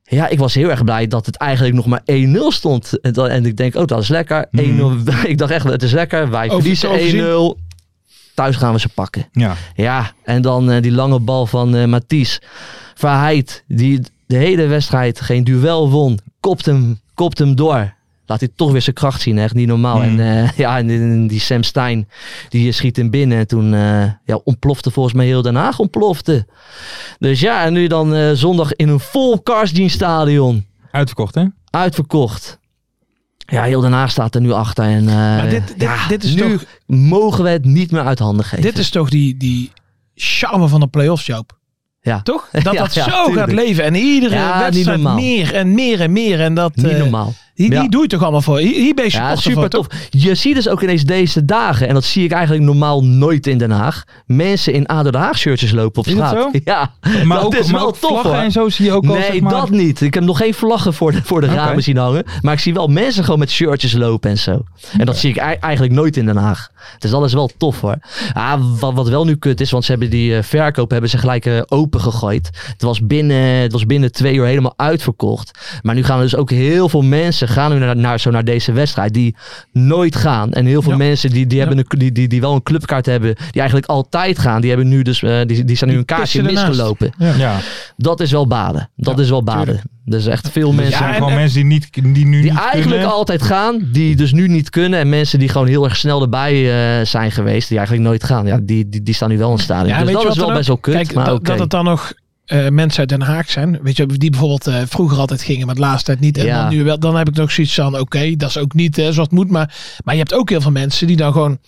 C: Ja, ik was heel erg blij dat het eigenlijk nog maar 1-0 stond. En, dan, en ik denk, oh, dat is lekker.
B: Hmm.
C: 1-0. *laughs* Ik dacht echt, het is lekker. Wij
D: Over-
C: verliezen 1-0. Thuis gaan we ze pakken.
B: Ja.
C: Ja, en dan eh, die lange bal van eh Mathies. Verheid, die de hele wedstrijd geen duel won, kopt hem, kopt hem door. Laat hij toch weer zijn kracht zien, echt niet
D: Mm.
C: normaal. En, eh, ja, en, en die Sam Stein, die eh, schiet hem binnen. En toen eh, ja, ontplofte volgens mij heel Den Haag, ontplofte. Dus ja, en nu dan eh, zondag in een vol Karsdien stadion.
B: Uitverkocht, hè?
C: Uitverkocht. Ja, heel Den Haag staat er nu achter. En, eh,
D: Maar dit, dit,
C: ja,
D: dit, is
C: nu
D: toch,
C: mogen we het niet meer uit handen geven.
D: dit is toch die, die charme van de play-offs, Joop?
C: ja.
D: Toch? Dat
C: *laughs* Ja,
D: dat
C: ja,
D: zo
C: tuurlijk.
D: gaat leven. En iedere
C: Ja, niet
D: wedstrijd
C: normaal.
D: meer en meer en meer. En dat,
C: Niet
D: eh,
C: normaal.
D: Die, die
C: Ja.
D: doe je toch allemaal voor? Hier, hier ben je
C: Ja,
D: supporter
C: super
D: voor, toch?
C: tof. Je ziet dus ook ineens deze dagen, en dat zie ik eigenlijk normaal nooit in Den Haag, mensen in ADO Den Haag shirtjes lopen op
B: Is dat
C: straat.
B: zo?
C: *laughs* Ja,
B: Maar
C: dat
B: ook,
C: is
B: maar
C: wel
B: ook
C: tof
B: vlaggen
C: hoor.
B: en zo zie je ook al,
C: nee,
B: zeg maar...
C: dat niet. Ik heb nog geen vlaggen voor de, voor de ramen zien hangen. Maar ik zie wel mensen gewoon met shirtjes lopen en zo. En dat zie ik ei- eigenlijk nooit in Den Haag. Dus dat is wel tof hoor. Ah, wat, wat wel nu kut is, want ze hebben die eh, verkoop hebben ze gelijk eh, open gegooid. Het was, binnen, het was binnen twee uur helemaal uitverkocht. Maar nu gaan er dus ook heel veel mensen gaan nu naar, naar, zo naar deze wedstrijd. Die nooit gaan. En heel veel
D: Ja.
C: mensen die, die, hebben een, die, die, die wel een clubkaart hebben. Die eigenlijk altijd gaan. Die, hebben nu dus, eh, die, die zijn nu een kaartje
D: pissen ernaast.
C: misgelopen.
B: Ja,
C: Dat is wel baden. Dat is wel baden. Dus echt veel
B: er
C: mensen
B: zijn
D: en-
B: gewoon mensen die, niet, die nu
C: die
B: niet
C: eigenlijk
B: kunnen.
C: altijd gaan, die dus nu niet kunnen. En mensen die gewoon heel erg snel erbij eh, zijn geweest, die eigenlijk nooit gaan. Ja, die, die, die staan nu wel in het stadion.
D: Ja,
C: dus
D: weet
C: dat
D: je wat
C: is wel
D: dan ook?
C: best wel kut.
D: Kijk,
C: maar
D: dat,
C: oké.
D: dat het dan nog eh, mensen uit Den Haag zijn. Weet je, die bijvoorbeeld eh, vroeger altijd gingen, maar de laatste tijd niet. En
C: Ja.
D: dan nu wel. Dan heb ik nog zoiets van, oké, dat is ook niet eh, zoals het moet. Maar, maar je hebt ook heel veel mensen die dan gewoon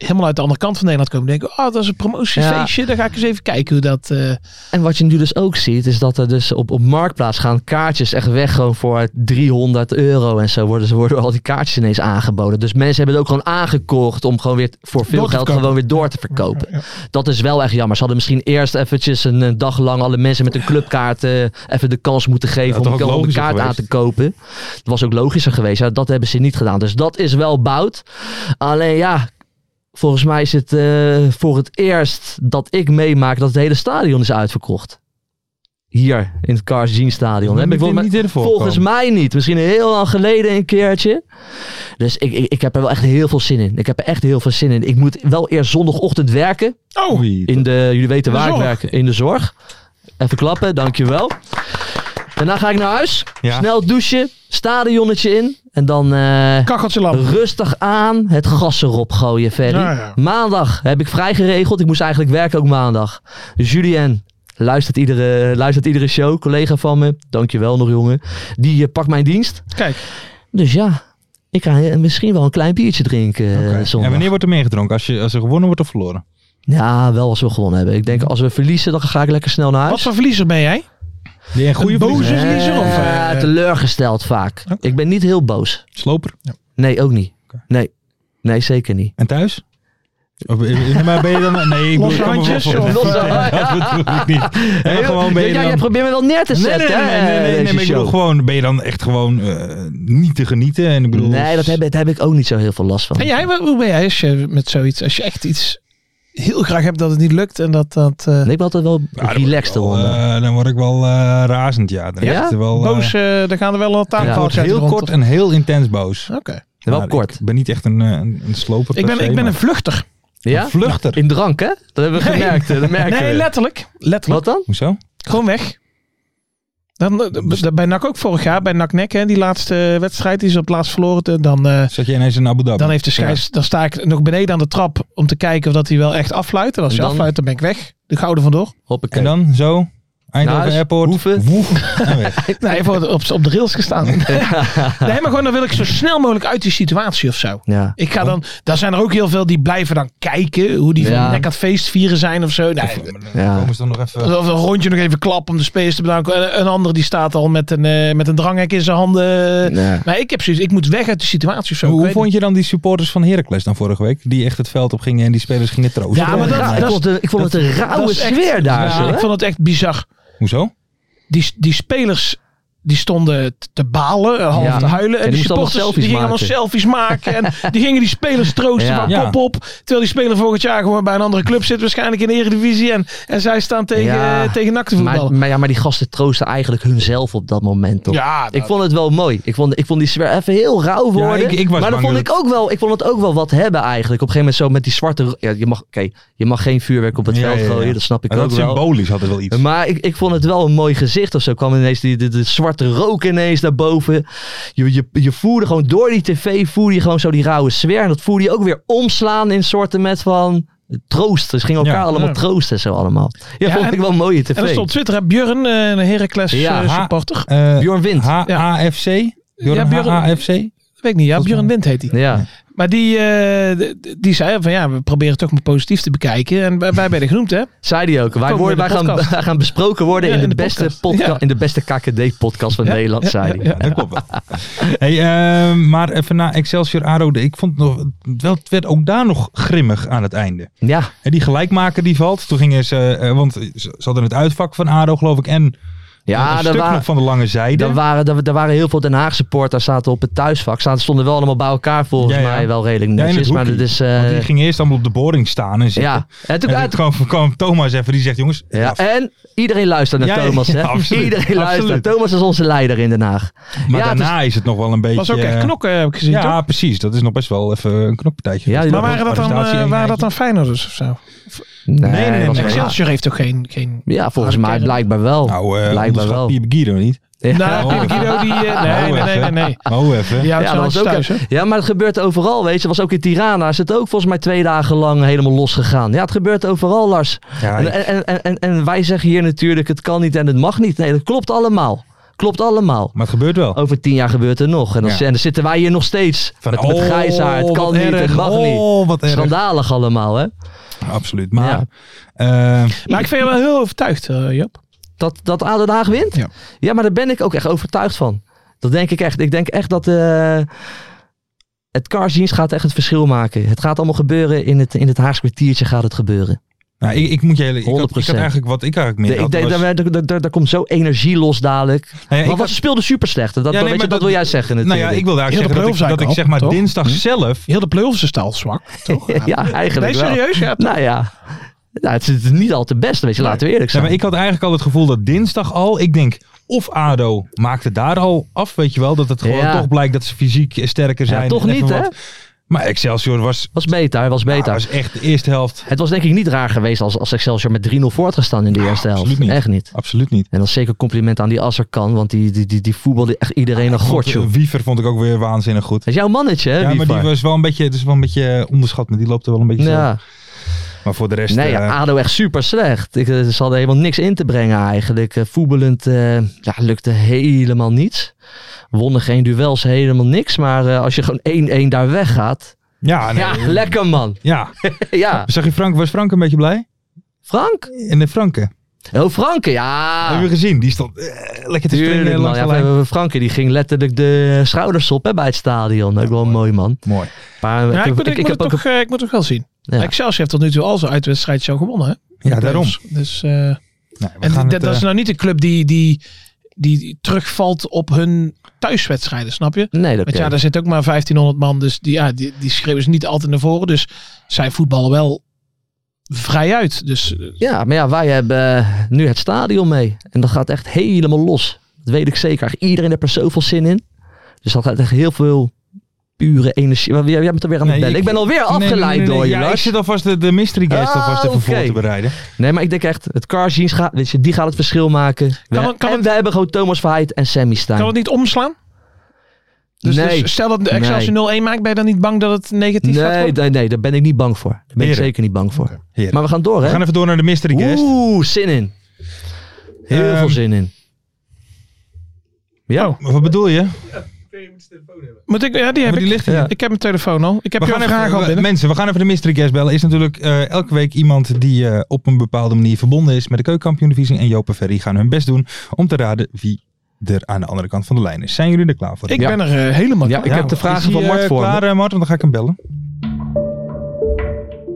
D: helemaal uit de andere kant van Nederland komen. Denken, oh, dat is een promotiefeestje. Dan ga ik eens even kijken hoe dat... eh,
C: En wat je nu dus ook ziet, is dat er dus op, op Marktplaats gaan kaartjes echt weg gewoon voor 300 euro en zo. Worden, ze worden al die kaartjes ineens aangeboden. Dus mensen hebben het ook gewoon aangekocht om gewoon weer voor veel
D: Door te
C: geld
D: verkopen.
C: gewoon weer door te verkopen. Dat is wel echt jammer. Ze hadden misschien eerst eventjes een, eh, dag lang alle mensen met een clubkaart eh, even de kans moeten geven
B: Dat
C: om
B: had
C: een
B: ook
C: om een
B: logischer
C: kaart aan
B: geweest.
C: te kopen. Dat was ook logischer geweest. Ja, dat hebben ze niet gedaan. Dus dat is wel bout. Alleen ja, Volgens mij is het eh, voor het eerst dat ik meemaak dat het hele stadion is uitverkocht. Hier in het Cars Jean Stadion.
B: Moet
C: Heb ik
B: niet-
C: volgens mij-
B: niet in voorkomen.
C: volgens mij niet. Misschien heel lang geleden een keertje. Dus ik, ik, ik heb er wel echt heel veel zin in. Ik heb er echt heel veel zin in. Ik moet wel eerst zondagochtend werken.
D: Oh,
C: In de, jullie weten
D: In de
C: waar ik
D: zorg.
C: werk. In de zorg. Even klappen, dankjewel. Daarna ga ik naar huis.
B: Ja.
C: Snel douchen, stadionnetje in. En dan eh,
D: kacheltje lamp.
C: rustig aan het gas erop gooien, Ferry.
D: Ja, ja.
C: Maandag heb ik vrij geregeld. Ik moest eigenlijk werken ook maandag. Dus Julien luistert iedere, luistert iedere show. Collega van me, dankjewel nog jongen. Die eh, pakt mijn dienst.
D: Kijk,
C: Dus ja, ik ga eh, misschien wel een klein biertje drinken eh, zondag.
B: En wanneer wordt er meegedronken? Als, je, als er gewonnen wordt of verloren?
C: Ja, wel als we gewonnen hebben. Ik denk als we verliezen, dan ga ik lekker snel naar huis.
D: wat voor verliezer ben jij?
B: Die een goede
D: Een boze
B: verliezer.
D: verliezer? Of,
C: Eh,
D: eh,
C: teleurgesteld vaak.
D: Oké.
C: Ik ben niet heel boos.
B: Sloper.
C: Nee, ook niet. Nee. Nee, zeker niet.
B: En thuis? Of, eh, maar ben je dan... Nee, ik bedoel- ik
D: Losse
B: kan me
D: handjes,
B: voorstellen.
C: of- Losse-
B: Nee, dat bedoel ik niet. Nee, maar gewoon ben je
C: ja,
B: dan...
C: jij probeert me wel neer te
B: Nee, nee,
C: zetten.
B: nee, nee, nee,
C: hè,
B: nee, nee,
C: deze
B: maar ik bedoel
C: show.
B: gewoon, ben je dan echt gewoon eh, niet te genieten? En ik bedoel,
C: Nee, dat heb, daar heb ik ook niet zo heel veel last van.
D: En jij, hoe ben jij als je met zoiets, als je echt iets heel graag hebt dat het niet lukt en dat dat eh,
C: Nee, ik ben altijd wel
B: Ja, dan
C: relaxed
B: word ik wel,
C: eronder.
B: eh, dan word ik wel eh, razend, ja. Dan
C: Ja?
B: is het Wel, eh,
D: boos, eh daar gaan er wel een
C: Ja,
D: tafelkort
B: wordt heel kort en heel intens boos.
D: Oké.
C: wel
B: Maar
C: kort.
B: eh, Ik ben niet echt een, eh, een, een sloper. per
D: Ik ben,
B: se,
D: ik ben
B: maar-
D: een vluchter.
C: ja?
B: vluchter.
C: In drank, hè? Dat hebben we gemerkt. hè, Dat merken
D: Nee,
C: we.
D: letterlijk. Letterlijk.
C: Wat Dus- dan?
B: Hoezo?
D: Gewoon weg. Dan, eh, b- bij NAC ook vorig jaar, bij NAC Nek, hè, die laatste eh, wedstrijd die ze op het laatst verloren. Dan, eh,
B: Zat je ineens in Abu Dhabi?
D: dan, heeft de scheids, dan sta ik nog beneden aan de trap om te kijken of dat hij wel echt afluit. En als hij
C: Dan-
D: afluit, dan ben ik weg. De gouden vandoor.
B: Ja.
C: Hoppakee.
B: En dan zo, Eindhoven
C: Naar huis,
B: Airport.
C: Nou, dus hoeven.
B: woef,
C: *laughs*
B: en weg.
D: Nee, even op, op, op de rails gestaan. nee, maar gewoon dan wil ik zo snel mogelijk uit die situatie of zo.
C: Ja.
D: Ik ga dan, daar zijn er ook heel veel die blijven dan kijken hoe die
C: Oh. Ja.
D: van nek aan het feest vieren zijn of zo. Nee,
C: Ja.
B: Dan komen ze dan nog even...
D: of een rondje nog even klap om de space te bedanken. En Een ander die staat al met een, eh, met een dranghek in zijn handen.
C: Nee.
D: Maar ik heb zoiets, ik moet weg uit de situatie of
B: Hoe,
D: zo. Ik
B: hoe
D: weet
B: vond
D: niet.
B: je dan die supporters van Heracles dan vorige week? Die echt het veld op gingen en die spelers gingen troosten.
D: Ja, maar dat-
C: Ja, ik,
D: dat-
C: vond het, een- ik vond het een rauwe
D: dat is echt-
C: sfeer daar.
D: Ja,
C: zo, hè?
D: ik vond het echt bizar.
B: Hoezo?
D: Die, die spelers die stonden t- te balen, en half
C: Ja.
D: te huilen. En,
C: En die
D: die
C: moesten allemaal
D: supporters die gingen allemaal
C: selfies
D: selfies
C: *laughs*
D: maken. En die gingen die spelers troosten
C: Ja.
D: van
B: Ja.
D: kop op. Terwijl die speler volgend jaar gewoon bij een andere club zit. Waarschijnlijk in de Eredivisie. En, en zij staan tegen,
C: Ja.
D: eh, tegen NAC te
C: maar,
D: voetballen.
C: maar, ja, maar die gasten troosten eigenlijk hunzelf op dat moment, toch?
D: ja, nou, dat-
C: Ik vond het wel mooi. Ik vond, ik vond die sfeer even heel rauw worden.
B: ik- ik was
C: maar dan
B: bang
C: vond
B: dat
C: ik ook wel, ik vond het ook wel wat hebben eigenlijk. Op een gegeven moment zo met die zwarte. Ja, je mag, oké, je mag geen vuurwerk op het
B: Ja,
C: veld
B: ja, ja.
C: gooien. Dat snap ik
B: En
C: ook
B: dat
C: wel.
B: symbolisch had het wel iets.
C: Maar ik, ik vond het wel een mooi gezicht of zo. kwam ineens die, de, de zwarte rook ineens naar boven. Je, je, je voerde gewoon door die tv, voerde je gewoon zo die rauwe sfeer. En dat voerde je ook weer omslaan in soorten met van troost. Dus gingen elkaar
B: Ja,
C: allemaal
D: ja.
C: troosten zo allemaal. Ja,
D: Ja,
C: vond
D: en-
C: ik wel een mooie tv.
D: En dat stond op Twitter, hè, Björn, eh, een Heracles
C: Ja,
D: eh,
B: ha-
D: supporter.
B: Eh,
C: Bjorn Wind.
B: HAFC?
D: Ja,
B: Bjorn
D: Bjorn-
B: HAFC?
D: Weet ik niet, ja,
B: Volgens
D: Björn Wind heet hij.
C: ja.
D: Maar die, eh, d- d- die zei van ja, we proberen toch maar positief te bekijken. En wij wij werden genoemd, hè?
C: Zei die ook. Wij,
D: Komen
C: worden,
D: we
C: wij, gaan,
D: in de
C: *laughs*
D: podcast?
C: wij gaan besproken worden
D: Ja,
C: in, de
D: in de
C: beste
D: podcast.
C: podcast,
D: Ja.
C: in de beste KKD-podcast van Nederland, zei die.
B: Ja, dat klopt wel. *laughs* Hey, eh, maar even na Excelsior Arode. Ik vond het nog, wel, het werd ook daar nog grimmig aan het einde.
C: Ja,
B: Hè, die gelijkmaker die valt. Toen gingen ze, eh, want ze ze hadden het uitvak van Ado geloof ik. En nog
C: ja
B: een
C: daar,
B: stuk
C: waren,
B: nog van de lange zijde.
C: daar, waren, daar, daar waren heel veel Den Haag supporters zaten op het thuisvak. Ze stonden wel allemaal bij elkaar volgens
B: Ja, ja.
C: mij wel redelijk
B: Ja, in het
C: netjes. maar
B: hoekje.
C: dat is...
B: Want die
C: eh
B: gingen eerst allemaal op de boring staan en zitten.
C: ja. En toen,
B: En
C: en,
B: toen kwam, kwam Thomas even, die zegt jongens,
C: ja,
B: ja,
C: en iedereen luistert naar
B: Ja, ja,
C: Thomas, hè?
B: ja, absoluut,
C: iedereen luistert.
B: absoluut.
C: Thomas is onze leider in Den Haag.
B: maar
C: ja, het
B: daarna is, het nog wel een beetje...
D: Was ook echt
B: eh,
D: knokken, heb ik gezien, toch?
B: Ja, precies. Dat is nog best wel even een knokpartijtje.
C: Ja, die-
D: Maar waren dat dan,
B: Arrestatie
D: eh,
B: en
D: waren
B: eindje.
D: dat dan Feyenoorders of zo?
C: Nee,
B: nee, nee,
C: was
B: nee.
C: geen- ja.
D: Excelsior heeft toch geen... geen...
C: Ja, volgens
D: Harde
C: mij
D: kern.
C: blijkbaar wel.
B: Nou, eh
C: blijkbaar
B: onderschat
C: wel.
B: Pierre Guido niet.
C: Ja.
D: Nou,
B: Oh,
D: Guido die... eh, nee,
B: Oh,
D: nee, nee, nee,
B: even.
D: nee.
B: Oh, even.
D: Ja,
C: Ja, dat was ook,
D: thuis, hè?
C: ja, maar het gebeurt overal, weet je. Was ook in Tirana. Is het ook volgens mij twee dagen lang helemaal losgegaan. Ja, het gebeurt overal, Lars.
B: Ja,
C: En, en, en, en, en wij zeggen hier natuurlijk, het kan niet en het mag niet. Nee, dat klopt allemaal. Klopt allemaal.
B: Maar het gebeurt wel.
C: Over tien jaar gebeurt er nog. En dan,
B: Ja.
C: en dan zitten wij hier nog steeds.
B: Van,
C: met, met
B: oh,
C: grijs haar. Het kan
B: wat
C: niet,
B: erg.
C: het mag niet.
B: Oh, wat erg.
C: Schandalig allemaal, hè.
B: Absoluut. Maar,
C: Ja.
B: eh,
D: Maar ik vind je wel heel overtuigd, eh, Job.
C: Dat, dat ADO Den Haag wint?
D: Ja.
C: Ja, maar daar ben ik ook echt overtuigd van. Dat denk ik echt. Ik denk echt dat eh, het Carsdienst gaat echt het verschil maken. Het gaat allemaal gebeuren. In het, in het Haagse kwartiertje gaat het gebeuren.
B: nou, ik, ik moet je hele... Ik had, ik had
C: 100%.
B: eigenlijk wat ik eigenlijk meer
C: De- ik
B: had,
C: denk,
B: was-
C: daar, daar, daar, daar komt zo energie los dadelijk.
B: Nou ja,
C: maar
B: ik
C: wat
B: had-
C: ze speelden super slecht. Dat, dat-
B: nee,
C: weet je,
B: maar
C: dat,
B: dat-
C: wil jij zeggen
B: nou
C: natuurlijk.
B: ja, ik wilde
D: Heel
B: eigenlijk
D: de
B: zeggen dat ik, dat
D: play-offs
B: ik zeg
D: eigenlijk
B: maar
D: al, toch?
B: dinsdag
D: Hm?
B: zelf...
C: *laughs*
D: Heel de play-offs is al zwak, toch?
C: ja, eigenlijk
D: Nee,
C: wel. *laughs*
D: serieus? Ja, toch?
C: Nou ja, Nou, het is niet al te best, weet je, laten we eerlijk
B: Ja,
C: zijn.
B: maar ik had eigenlijk al het gevoel dat dinsdag al, ik denk, of ADO maakte daar al af, weet je wel, dat het gewoon
C: Ja.
B: toch blijkt dat ze fysiek sterker
C: Ja,
B: zijn.
C: toch
B: en even
C: niet, hè?
B: wat. Maar Excelsior was,
C: Was beter, was
B: ja,
C: beter.
B: was echt de eerste helft.
C: Het was denk ik niet raar geweest als, als Excelsior met 3-0 voor had gestaan in de eerste helft.
B: absoluut niet.
C: Echt niet.
B: Absoluut niet.
C: En dan zeker compliment aan die Asserkan, want die, die, die, die voetbalde echt iedereen een gort,
B: *laughs*
C: joh.
B: Want, eh, Wiever vond ik ook weer waanzinnig goed.
C: Dat is jouw mannetje, hè,
B: Ja, maar
C: Wiever?
B: die was wel een beetje, het is wel een beetje eh, onderschat, maar die loopt er wel een beetje zo.
C: Ja.
B: Maar voor de rest...
C: Nee,
B: eh,
C: ja, ah. ADO echt super slecht. Ik, eh, ze hadden helemaal niks in te brengen eigenlijk. Eh, Voetballend eh, ja, lukte helemaal niets. Wonnen geen duels, helemaal niks. Maar eh, als je gewoon 1-1 daar weggaat.
B: ja, Ah, nee,
C: ja, lekker man. *laughs*
B: ja.
C: ja,
B: Zag je Frank, was Frank een beetje blij?
C: Frank.
B: En de Franke,
C: Oh, Franke,
B: hebben
C: ja.
B: we gezien, die stond eh, lekker te
C: Tuurlijk,
B: springen
C: man.
B: langs
C: Ja,
B: de lijn.
C: Fra- Franke die ging letterlijk de schouders op hè, bij het stadion. Ook wel mooi, man.
B: Mooi.
C: Maar
D: Ja,
C: ik,
D: ik,
C: heb-
D: moet, ik,
C: ik
D: moet
C: heb
D: het
C: ook...
D: toch, eh, ik moet het toch wel zien.
C: Ja.
D: Excelsior heeft tot nu toe al zijn uitwedstrijd zo gewonnen. Hè?
B: Ja, daarom.
D: Dus, eh,
B: Nee, we gaan
D: en dat,
B: het,
D: dat
B: eh,
D: is nou niet een club die, die, die terugvalt op hun thuiswedstrijden, snap je?
C: Nee, dat
D: Want ja, daar zit ook maar 1500 man, dus die, ja, die, die schreeuwen ze niet altijd naar voren. Dus zij voetballen wel vrij uit. Dus eh,
C: Ja, maar ja, wij hebben eh, nu het stadion mee. En dat gaat echt helemaal los. Dat weet ik zeker. Iedereen heeft er zoveel zin in. Dus dat gaat echt heel veel pure energie. Maar jij, jij bent alweer aan het
B: Nee,
C: bellen. Ik,
B: ik-
C: ben alweer
B: Nee,
C: afgeleid
B: nee, nee, nee.
C: door je,
B: ja, Ik
C: Lars.
B: zit alvast de, de mystery guest
C: Ah,
B: alvast even voor
C: oké.
B: te bereiden.
C: Nee, maar ik denk echt, het car jeans gaat, weet je, die gaat het verschil maken.
D: Kan
C: We-
D: het- kan
C: en
D: het-
C: wij hebben gewoon Thomas Verheid en Sammy Stein.
D: kan het niet omslaan? Dus,
C: nee,
D: dus stel dat de Excelsior 0-1 maakt, ben je dan niet bang dat het negatief gaat
C: nee,
D: worden?
C: nee, nee, daar ben ik niet bang voor. Daar ben ik
B: Heren.
C: zeker niet bang voor.
B: Heren.
C: Maar we gaan door,
B: We
C: hè?
B: gaan even door naar de mystery guest.
C: Oeh, zin in. Heel
B: Ehm,
C: veel zin in. Ja.
B: Maar Wat bedoel je?
D: Moet ik, ja, die heb
B: Maar die
D: ik.
B: ligt hier.
C: Ja.
D: Ik heb mijn telefoon al. Ik heb
B: We
D: jouw
B: gaan
D: vraag
B: even,
D: al
B: we-
D: binnen.
B: mensen, we gaan even de mystery guest bellen. Is natuurlijk eh, elke week iemand die eh, op een bepaalde manier verbonden is met de keukenkampioendivisie. En Joop en Ferry gaan hun best doen om te raden wie er aan de andere kant van de lijn is. Zijn jullie er klaar voor?
D: Ik
C: Ja.
D: ben er eh, helemaal
C: Ja,
D: klaar
C: ik heb
D: voor.
C: de vragen
B: Is
C: van
B: hij,
C: Mart
B: eh,
C: voor me.
B: klaar, eh, Mart? Want dan ga ik hem bellen.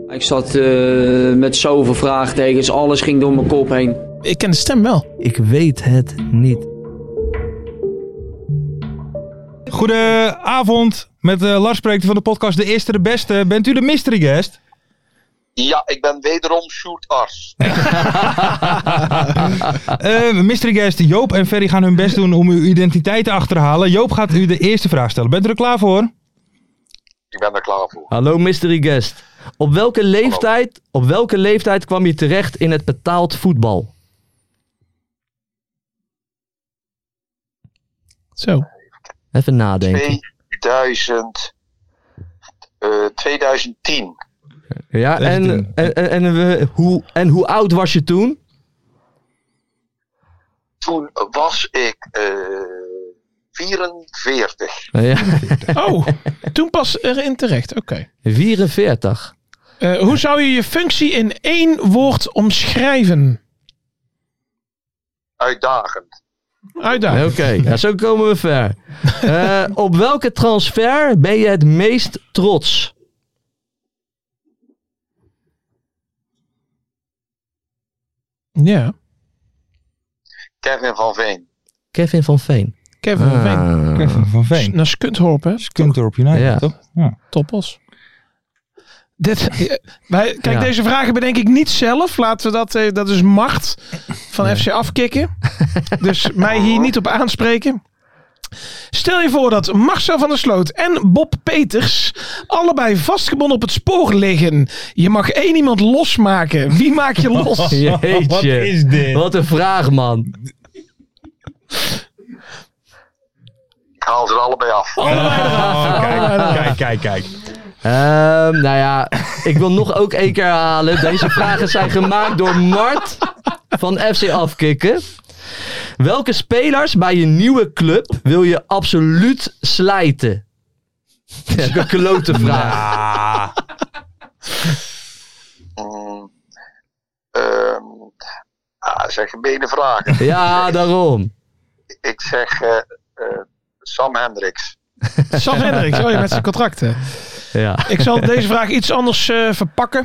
G: Ik zat eh, met zoveel vraagtekens, alles ging door mijn kop heen.
D: Ik ken de stem wel.
C: Ik weet het niet.
B: Goedenavond, met eh, Lars spreekt van de podcast De Eerste de Beste. Bent u de mystery guest?
E: Ja, ik ben wederom Sjoerd Ars.
B: Eh, mystery guest Joop en Ferry gaan hun best doen om uw identiteit te achterhalen. Joop gaat u de eerste vraag stellen. Bent u er klaar voor?
E: Ik ben er klaar voor.
C: Hallo mystery guest. Op welke leeftijd, op welke leeftijd kwam je terecht in het betaald voetbal?
D: Zo.
C: *laughs* Even nadenken.
E: 2000, eh, 2010.
C: Ja, en,
B: 16.
C: en, en, en, we- hoe, en hoe oud was je toen? *laughs*
E: Toen was ik eh 44.
C: Ja,
D: Oh, toen pas erin terecht. Oké.
C: 44.
D: Eh, hoe zou je je functie in één woord omschrijven?
E: Uitdagend.
C: Oké,
B: Ah.
D: Uitdaging.
C: ja, zo komen we
B: *laughs*
C: ver. Eh, op welke transfer ben je het meest trots?
D: Ja.
E: Kevin van Veen.
C: Kevin van Veen.
D: Kevin van Veen.
C: Ah.
B: Kevin van
D: S-
B: Veen.
D: Naar Skunthorp, hè?
B: Kuntorp United,
C: Ja.
B: toch? Ja.
D: Toppos. Dit, eh, wij, kijk,
C: Ja.
D: deze vragen bedenk ik niet zelf. Laten we dat, eh, dat is macht van FC afkicken. dus mij hier niet op aanspreken. Stel je voor dat Marcel van der Sloot en Bob Peters allebei vastgebonden op het spoor liggen. Je mag één iemand losmaken. Wie maak je
C: *laughs* *laughs*
D: los?
C: Jeetje.
B: Wat is dit?
C: Wat een vraag, man.
E: Ik haal ze er allebei af.
B: Oh,
C: Ah.
B: kijk, kijk, kijk, kijk.
C: Ehm, nou ja, ik wil nog ook één keer herhalen. Deze vragen zijn gemaakt door Mart van FC Afkikken. Welke spelers bij je nieuwe club wil je absoluut slijten? Dat is een klote vraag.
E: Mm, ehm, ah, zeg gemene vragen.
B: Nou.
C: Ja, daarom.
E: Ik zeg eh, eh, Sam Hendricks.
D: Sam Hendricks, oh ja, met zijn contracten.
C: Ja.
D: Ik zal deze vraag iets anders eh, verpakken.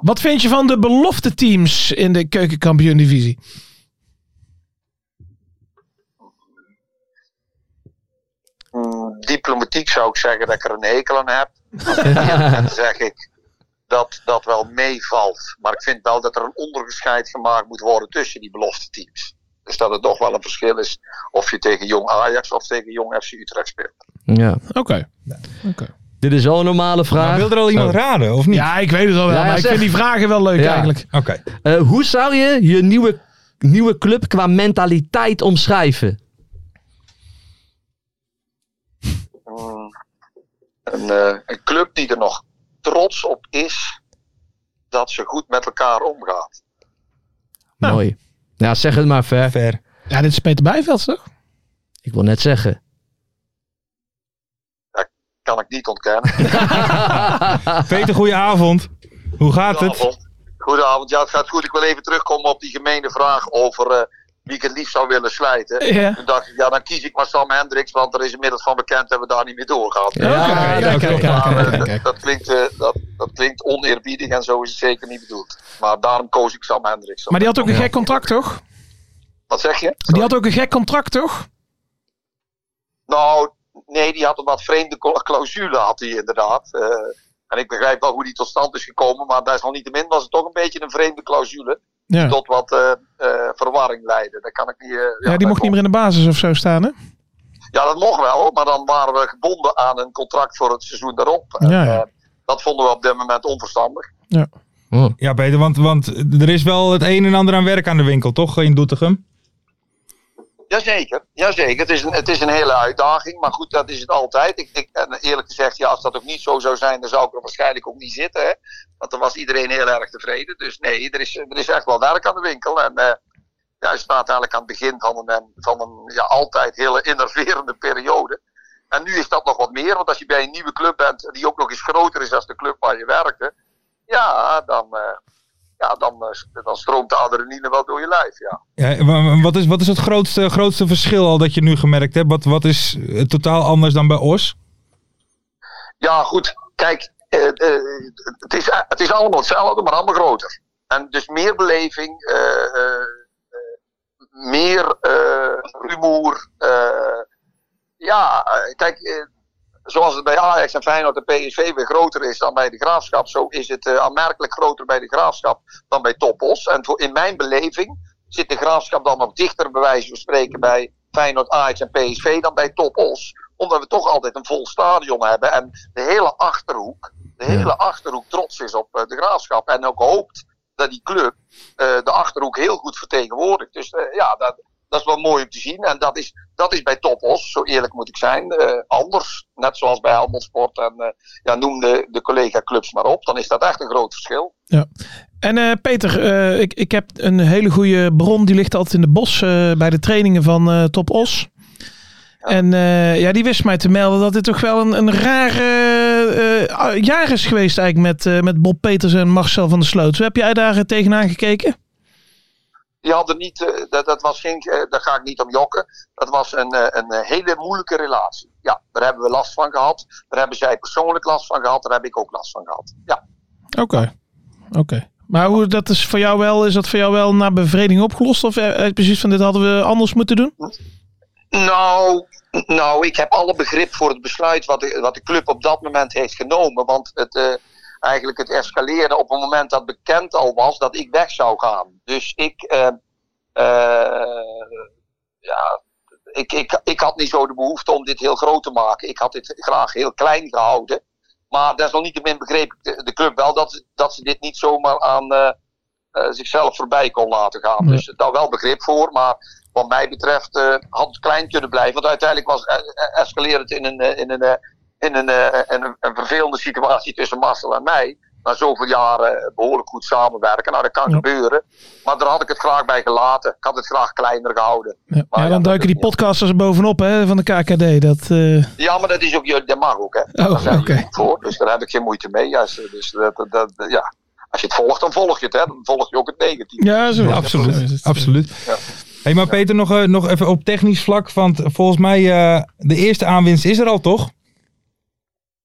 D: Wat vind je van de belofte teams in de keukenkampioen divisie?
E: Mm, diplomatiek zou ik zeggen dat ik er een hekel aan heb. En dan zeg ik dat dat wel meevalt. Maar ik vind wel dat er een onderscheid gemaakt moet worden tussen die belofte teams. Dus dat het toch wel een verschil is of je tegen jong Ajax of tegen jong FC Utrecht speelt.
C: Ja.
D: Oké. Oké.
C: Dit is wel een normale
B: Maar
C: vraag.
B: wil er al iemand
C: Oh.
B: raden, of niet?
D: Ja, ik weet het al wel,
C: Ja, ja,
D: maar ik
C: zeg.
D: vind die vragen wel leuk
C: Ja.
D: eigenlijk.
B: Oké.
C: Eh, hoe zou je je nieuwe, nieuwe club qua mentaliteit omschrijven?
E: Mm. Een, eh, een club die er nog trots op is dat ze goed met elkaar omgaat.
B: Nou.
C: Mooi. Ja, zeg het maar ver.
B: Ver.
D: Ja, dit is Peter Bijveld, toch?
C: Ik wil net zeggen.
E: Kan ik niet ontkennen.
B: Peter, goeie avond. Hoe gaat het?
E: Goedenavond. Goedenavond. Ja, het gaat goed. Ik wil even terugkomen op die gemene vraag over eh, wie ik het liefst zou willen slijten.
D: Ja.
E: Toen dacht ik, ja, dan kies ik maar Sam Hendricks, want er is inmiddels van bekend dat we daar niet meer doorgaan.
C: Ja,
B: Oké, oké, oké,
E: Maar, eh,
B: oké,
E: dat-
B: oké.
E: Dat, klinkt, eh, dat, dat klinkt oneerbiedig en zo is het zeker niet bedoeld. Maar daarom koos ik Sam Hendricks.
D: Maar die had ook een gek contract, toch?
E: Wat zeg je?
D: Die had ook een gek contract, toch?
E: Nou, nee, die had een wat vreemde cla- clausule, had hij inderdaad. Eh, en ik begrijp wel hoe die tot stand is gekomen, maar desalniettemin was het toch een beetje een vreemde clausule.
D: Ja.
E: Tot wat eh, eh, verwarring leidde. Dat kan ik niet. eh,
D: Ja,
E: dat
D: die mocht niet meer in de basis of zo staan, hè?
E: Ja, dat mocht wel, maar dan waren we gebonden aan een contract voor het seizoen daarop. En,
D: Ja, ja.
E: eh, dat vonden we op dit moment onverstandig.
B: Ja, Peter, want, want er is wel het een en ander aan werk aan de winkel, toch? In Doetinchem?
E: Jazeker, jazeker. Het is, een, het is een hele uitdaging, maar goed, dat is het altijd. Ik, ik, en eerlijk gezegd, ja, als dat ook niet zo zou zijn, dan zou ik er waarschijnlijk ook niet zitten. Hè? Want dan was iedereen heel erg tevreden. Dus nee, er is, er is echt wel werk aan de winkel. En eh, ja, je staat eigenlijk aan het begin van een, en- van een ja, altijd hele innoverende periode. En nu is dat nog wat meer, want als je bij een nieuwe club bent, die ook nog eens groter is dan de club waar je werkte, ja, dan, eh, ja, dan, eh, dan stroomt de adrenaline wel door je lijf. Ja.
B: Ja, wa- wat, is, wat is het grootste, grootste verschil al dat je nu gemerkt hebt? Wat, wat is eh, totaal anders dan bij Os?
E: Ja, goed. Kijk, eh, eh, het, is, het is allemaal hetzelfde, maar allemaal groter. En dus meer beleving, eh, eh, eh, meer eh, rumoer. eh, ja, eh, kijk, eh, zoals het bij Ajax en Feyenoord en PSV weer groter is dan bij de Graafschap, zo is het eh, aanmerkelijk groter bij de Graafschap dan bij Topos. En voor, in mijn beleving zit de Graafschap dan nog dichter bij wijze van spreken bij Feyenoord, Ajax en PSV dan bij Topos. Omdat we toch altijd een vol stadion hebben en de hele Achterhoek, de hele Achterhoek trots is op eh, de Graafschap. En ook hoopt dat die club eh, de Achterhoek heel goed vertegenwoordigt. Dus eh, ja, dat, dat is wel mooi om te zien. En dat is, dat is bij Topos, zo eerlijk moet ik zijn, eh, anders. Net zoals bij Helmond Sport en eh, ja, noem de, de collega-clubs maar op. Dan is dat echt een groot verschil.
D: En eh, Peter, eh, ik, ik heb een hele goede bron. Die ligt altijd in de bos eh, bij de trainingen van eh, Top Os. En eh, ja, die wist mij te melden dat dit toch wel een, een raar eh, eh, jaar is geweest eigenlijk met, eh, met Bob Peters en Marcel van der Sloot. Hoe heb jij daar eh, tegenaan gekeken?
E: Die hadden niet, eh, dat, dat was geen, eh, daar ga ik niet om jokken. Dat was een, eh, een eh, hele moeilijke relatie. Ja, daar hebben we last van gehad. Daar hebben zij persoonlijk last van gehad. Daar heb ik ook last van gehad. Ja,
D: Oké, oké. Maar hoe, dat is, voor jou wel, is dat voor jou wel naar bevrediging opgelost? Of eh, eh, precies van dit hadden we anders moeten doen?
E: Nou, nou, ik heb alle begrip voor het besluit wat de, wat de club op dat moment heeft genomen. Want het, eh, eigenlijk het escaleren op het moment dat bekend al was dat ik weg zou gaan. Dus ik, eh, eh, ja, ik, ik, ik had niet zo de behoefte om dit heel groot te maken. Ik had dit graag heel klein gehouden. Maar desalniettemin begreep ik de, de club wel dat, dat ze dit niet zomaar aan eh, eh, zichzelf voorbij kon laten gaan.
D: Nee.
E: Dus daar wel begrip voor. Maar wat mij betreft eh, had het klein kunnen blijven. Want uiteindelijk was eh, eh, escalerend in een, eh, in een, eh, in een, eh, in een, een vervelende situatie tussen Marcel en mij. Na zoveel jaren eh, behoorlijk goed samenwerken. Nou, dat kan
D: Ja.
E: gebeuren. Maar daar had ik het graag bij gelaten. Ik had het graag kleiner gehouden.
D: Ja,
E: Maar
D: ja,
E: Ah, ja,
D: dan
E: dat
D: duiken
E: is-
D: die podcasters er bovenop hè, van de KKD. Dat, eh,
E: Ja, maar dat is ook jullie, dat mag ook, hè?
D: Oh,
E: Daar zijn
D: oké.
E: jullie voor, dus daar heb ik geen moeite mee. Ja, dus, dus dat, dat, dat- ja. Als je het volgt, dan volg je het, hè? Dan volg je ook het negatieve.
D: ja, zo.
B: absoluut.
D: Zo is het.
B: absoluut.
E: Ja.
B: Hey, maar Peter, nog, eh, nog even op technisch vlak. Want volgens mij, eh, de eerste aanwinst is er al, toch?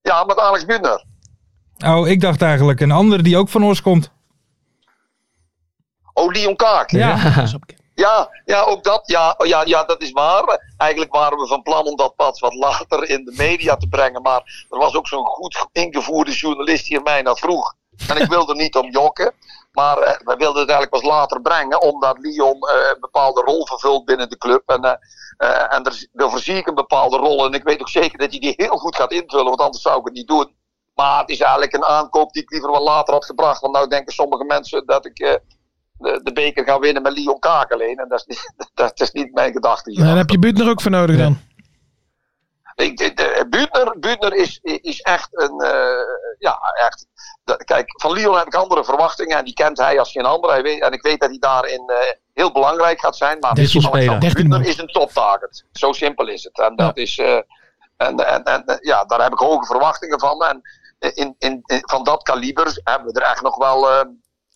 E: Ja, met Alex Bunner.
B: Oh, ik dacht eigenlijk een andere die ook van Os komt.
E: Oh, Leon Kaak.
B: Ja.
E: Ja, ja, *laughs* ook dat. Ja, oh ja, ja, dat is waar. Eigenlijk waren we van plan om dat pas wat later in de media te brengen. Maar er was ook zo'n goed ingevoerde journalist die er mij naar vroeg. En ik wilde niet om jokken. Maar eh, we wilden het eigenlijk pas later brengen. Omdat Lyon eh, een bepaalde rol vervult binnen de club. En, eh eh, en er, daarvoor zie ik een bepaalde rol. En ik weet ook zeker dat hij die heel goed gaat invullen. Want anders zou ik het niet doen. Maar het is eigenlijk een aankoop die ik liever wel later had gebracht. Want nou denken sommige mensen dat ik... eh, de, de beker ga winnen met Lyon Kaak alleen. En dat is niet, *laughs* dat is niet mijn gedachte. hier.
D: Nou, daar heb je Buutner ook voor nodig dan.
E: Ik, de, de- Buutner, Buutner is, is echt een. eh, ja, echt. dat- kijk, van Lyon heb ik andere verwachtingen. En die kent hij als geen ander. Hij weet, en ik weet dat hij daarin eh, heel belangrijk gaat zijn. Maar
C: Wisselspeler.
E: Alexander
D: 13
E: Buutner
D: man.
E: is een toptarget. Zo simpel is het. En, dat is, eh, en, en, en eh, ja, daar heb ik hoge verwachtingen van. En in, in, in- van dat kaliber hebben we er echt nog wel. eh,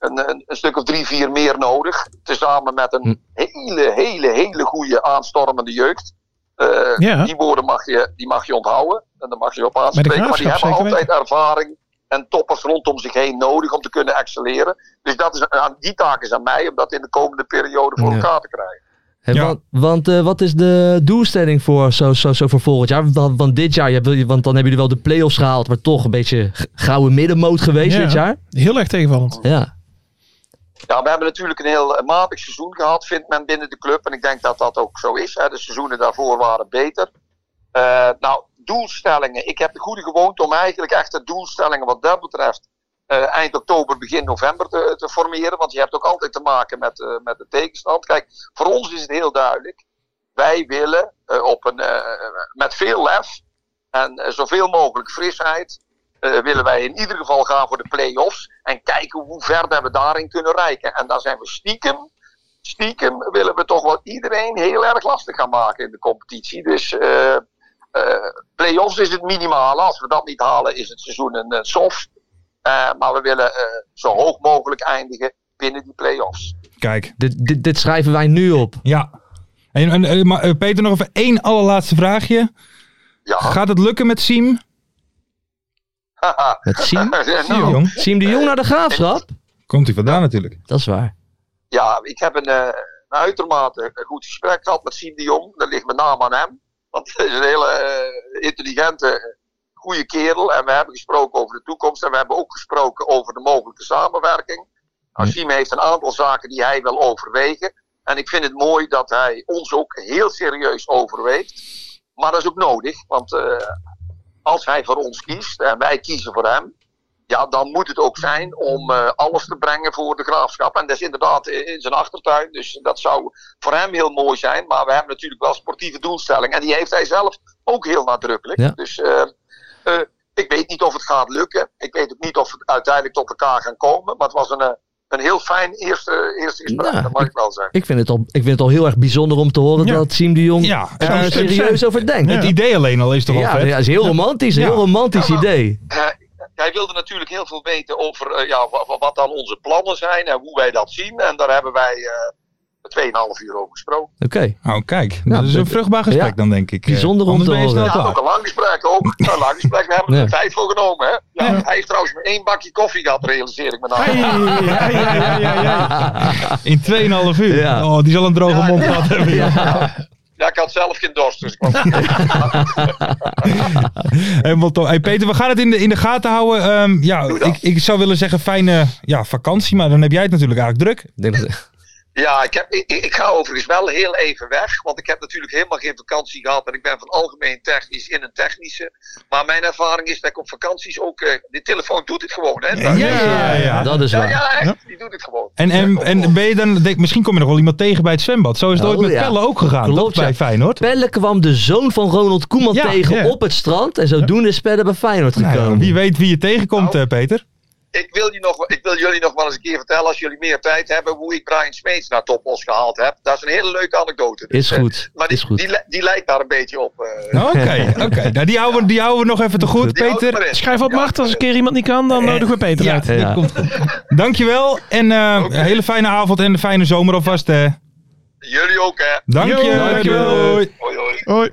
E: een, een, een stuk of drie, vier meer nodig. Tezamen met een hele, hele, hele goede aanstormende jeugd. Eh,
D: Ja.
E: Die woorden mag je, die mag je onthouden. En daar mag je op
D: Met
E: aanspreken.
D: de
E: Maar die
D: graafschap,
E: hebben
D: zeker
E: altijd ervaring en toppers rondom zich heen nodig om te kunnen excelleren. Dus dat is, aan- die taak is aan mij om dat in de komende periode voor
C: Ja.
E: elkaar te krijgen.
C: Hè,
B: Ja.
C: Want, want, eh, wat is de doelstelling voor, zo, zo, zo voor volgend jaar? Want, want dit jaar, je wil- want dan hebben jullie wel de play-offs gehaald, maar toch een beetje g- gouden middenmoot geweest
D: Ja.
C: dit jaar.
D: Heel erg tegenvallend.
C: Ja.
E: Ja, we hebben natuurlijk een heel eh, matig seizoen gehad, vindt men binnen de club. En ik denk dat dat ook zo is. Hè. De seizoenen daarvoor waren beter. Eh, nou, doelstellingen. Ik heb de goede gewoonte om eigenlijk echt de doelstellingen wat dat betreft eh, eind oktober, begin november te, te formeren. Want je hebt ook altijd te maken met, eh, met de tegenstand. Kijk, voor ons is het heel duidelijk. Wij willen eh, op een, eh, met veel lef en eh, zoveel mogelijk frisheid eh, willen wij in ieder geval gaan voor de play-offs. En kijken hoe ver dat we daarin kunnen reiken. En daar zijn we stiekem stiekem willen we toch wel iedereen heel erg lastig gaan maken in de competitie. Dus eh eh play-offs is het minimale. Als we dat niet halen, is het seizoen een eh, soft. Eh, maar we willen eh, zo hoog mogelijk eindigen binnen die play-offs.
B: Kijk,
C: Dit, dit, dit schrijven wij nu op.
B: ja. En, en, eh, maar, eh, Peter, nog even één allerlaatste vraagje.
E: Ja.
B: Gaat het lukken met Siem?
C: Met Siem,
E: Nou,
B: Jong.
C: Siem de Jong naar de graafschap.
B: Komt hij vandaan natuurlijk.
C: Dat is waar.
E: ja, ik heb een, eh, een uitermate een goed gesprek gehad met Siem de Jong. Dat ligt met name aan hem. Want hij is een hele eh, intelligente, goede kerel. En we hebben gesproken over de toekomst. En we hebben ook gesproken over de mogelijke samenwerking. Nou, Siem heeft een aantal zaken die hij wil overwegen. En ik vind het mooi dat hij ons ook heel serieus overweegt. Maar dat is ook nodig. Want eh, als hij voor ons kiest en wij kiezen voor hem ja, dan moet het ook zijn om eh, alles te brengen voor de graafschap. En dat is inderdaad in in zijn achtertuin. Dus dat zou voor hem heel mooi zijn. Maar we hebben natuurlijk wel sportieve doelstellingen. En die heeft hij zelf ook heel nadrukkelijk.
C: Ja.
E: Dus eh, eh, ik weet niet of het gaat lukken. Ik weet ook niet of we uiteindelijk tot elkaar gaan komen. Maar het was een, eh, een heel fijn eerste, eerste gesprek.
C: Ja,
E: dat mag
C: ik-
E: ik wel zeggen.
C: Ik vind het al, ik vind het al heel erg bijzonder om te horen
B: Ja.
C: dat Siem de Jong
B: Ja,
C: er
B: zou
C: zo
B: het
C: serieus
B: zijn.
C: over denkt.
B: Het idee alleen al is toch al
C: Ja,
B: vet?
C: ja, is heel romantisch, een
B: Ja.
C: heel romantisch
E: Ja, maar-
C: idee.
E: Eh, hij wilde natuurlijk heel veel weten over eh, ja, wa- wa- wat dan onze plannen zijn en hoe wij dat zien. En daar hebben wij eh 2,5 uur over gesproken.
C: Oké.
B: Nou, kijk.
C: Ja,
B: dat is een
C: dat-
B: vruchtbaar gesprek
C: ja.
B: dan, denk ik. Eh,
C: Bijzonder om
B: anders
C: te
B: ben je snel
C: horen.
E: Ja, ook
B: klaar.
E: een lang gesprek ook. Nou, Een lang gesprek. We hebben er
C: Ja.
E: tijd voor genomen. Hè? Ja,
B: Ja.
E: Hij heeft trouwens maar één bakje koffie gehad, realiseer ik me nou.
B: Hey, ja, ja, ja, ja. In 2,5 uur.
C: Ja.
B: Oh, die zal een droge
E: Ja,
B: mond
E: ja.
B: gehad hebben. ja.
E: Ja, ik had zelf geen dorst. Dus ik was...
B: Helemaal tof. Hey Peter, we gaan het in de, in de gaten houden. Ehm, ja,
E: Doe dat.
B: ik, ik zou willen zeggen fijne ja, vakantie, maar dan heb jij het natuurlijk eigenlijk druk.
C: Ik denk dat-
E: Ja, ik, heb, ik, ik ga overigens wel heel even weg. Want ik heb natuurlijk helemaal geen vakantie gehad. En ik ben van algemeen technisch in een technische. Maar mijn ervaring is dat ik op vakanties ook... eh, de telefoon doet het gewoon, hè?
B: Ja, ja, ja.
C: *laughs* Dat is
E: Ja,
C: waar.
E: ja, echt, die doet het gewoon.
B: En, en,
E: Ja,
B: en ben je dan, denk, misschien kom je nog wel iemand tegen bij het zwembad. Zo is het
C: Oh,
B: ooit met
C: ja.
B: Pelle ook gegaan,
C: Klopt,
B: toch?
C: ja.
B: Bij Feyenoord.
C: Pelle kwam de zoon van Ronald Koeman
B: Ja,
C: tegen
B: ja.
C: op het strand. En zodoende is Pelle bij Feyenoord
B: Nou,
C: gekomen.
B: wie weet wie je tegenkomt,
E: Nou.
B: eh, Peter.
E: ik, wil je nog, wel- ik wil jullie nog wel eens een keer vertellen, als jullie meer tijd hebben, hoe ik Brian Smeets naar Topos gehaald heb. Dat is een hele leuke anekdote. Dus,
C: Is
E: eh,
C: goed,
E: maar die,
C: is goed.
E: Die, li- die lijkt daar een beetje op. eh.
B: Oké, oké. Nou, die houden, we- die houden we nog even te goed,
E: Die houdt maar
B: Peter.
E: in.
D: Schrijf op
E: Ja.
D: Mart, als een keer iemand niet kan, dan eh, nodigen we Peter
B: Ja,
D: uit.
B: dat
C: Ja.
B: komt goed. Dankjewel en eh, een hele fijne avond en een fijne zomer alvast. eh.
E: Jullie ook, hè?
B: Dank
D: Jo,
B: je.
D: dankjewel.
B: Doei.
E: Hoi, hoi.
D: Hoi.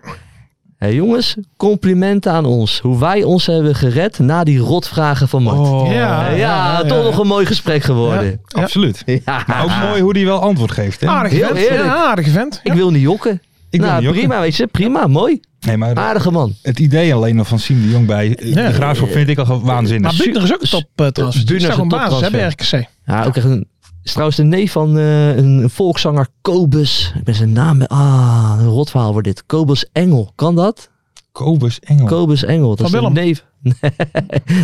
C: Hey jongens, complimenten aan ons. Hoe wij ons hebben gered na die rotvragen van Mart.
B: Oh,
C: ja,
D: Ja,
C: toch nog een mooi gesprek geworden.
D: Ja.
B: Absoluut.
C: Ja.
B: Maar Nou, ook mooi hoe die wel antwoord geeft. Hè?
D: Aardige
C: Heel
D: vent.
C: eerlijk.
D: Ja, aardige vent.
C: Ik wil niet jokken.
B: Ik wil
C: nou,
B: niet jokken.
C: prima, weet je. Prima, mooi.
B: Nee, maar
C: Aardige man.
B: het idee alleen al van Siem de Jong bij eh, de Graafschap vind ik al waanzinnig.
D: Maar Buutner is ook een top eh,
C: Buutner
D: transfer. Die
C: Dus- is
D: staat
C: een
D: op basis hè, bij
C: toptransfer.
D: RKC.
C: Ja, ook echt een, is trouwens de neef van eh, een volkszanger Kobus. Ik ben zijn naam... Ah, een rotverhaal wordt dit. Kobus Engel. Kan dat?
B: Kobus Engel.
C: Kobus Engel. Dat
D: Van
C: is
D: Willem.
C: De neef. *laughs*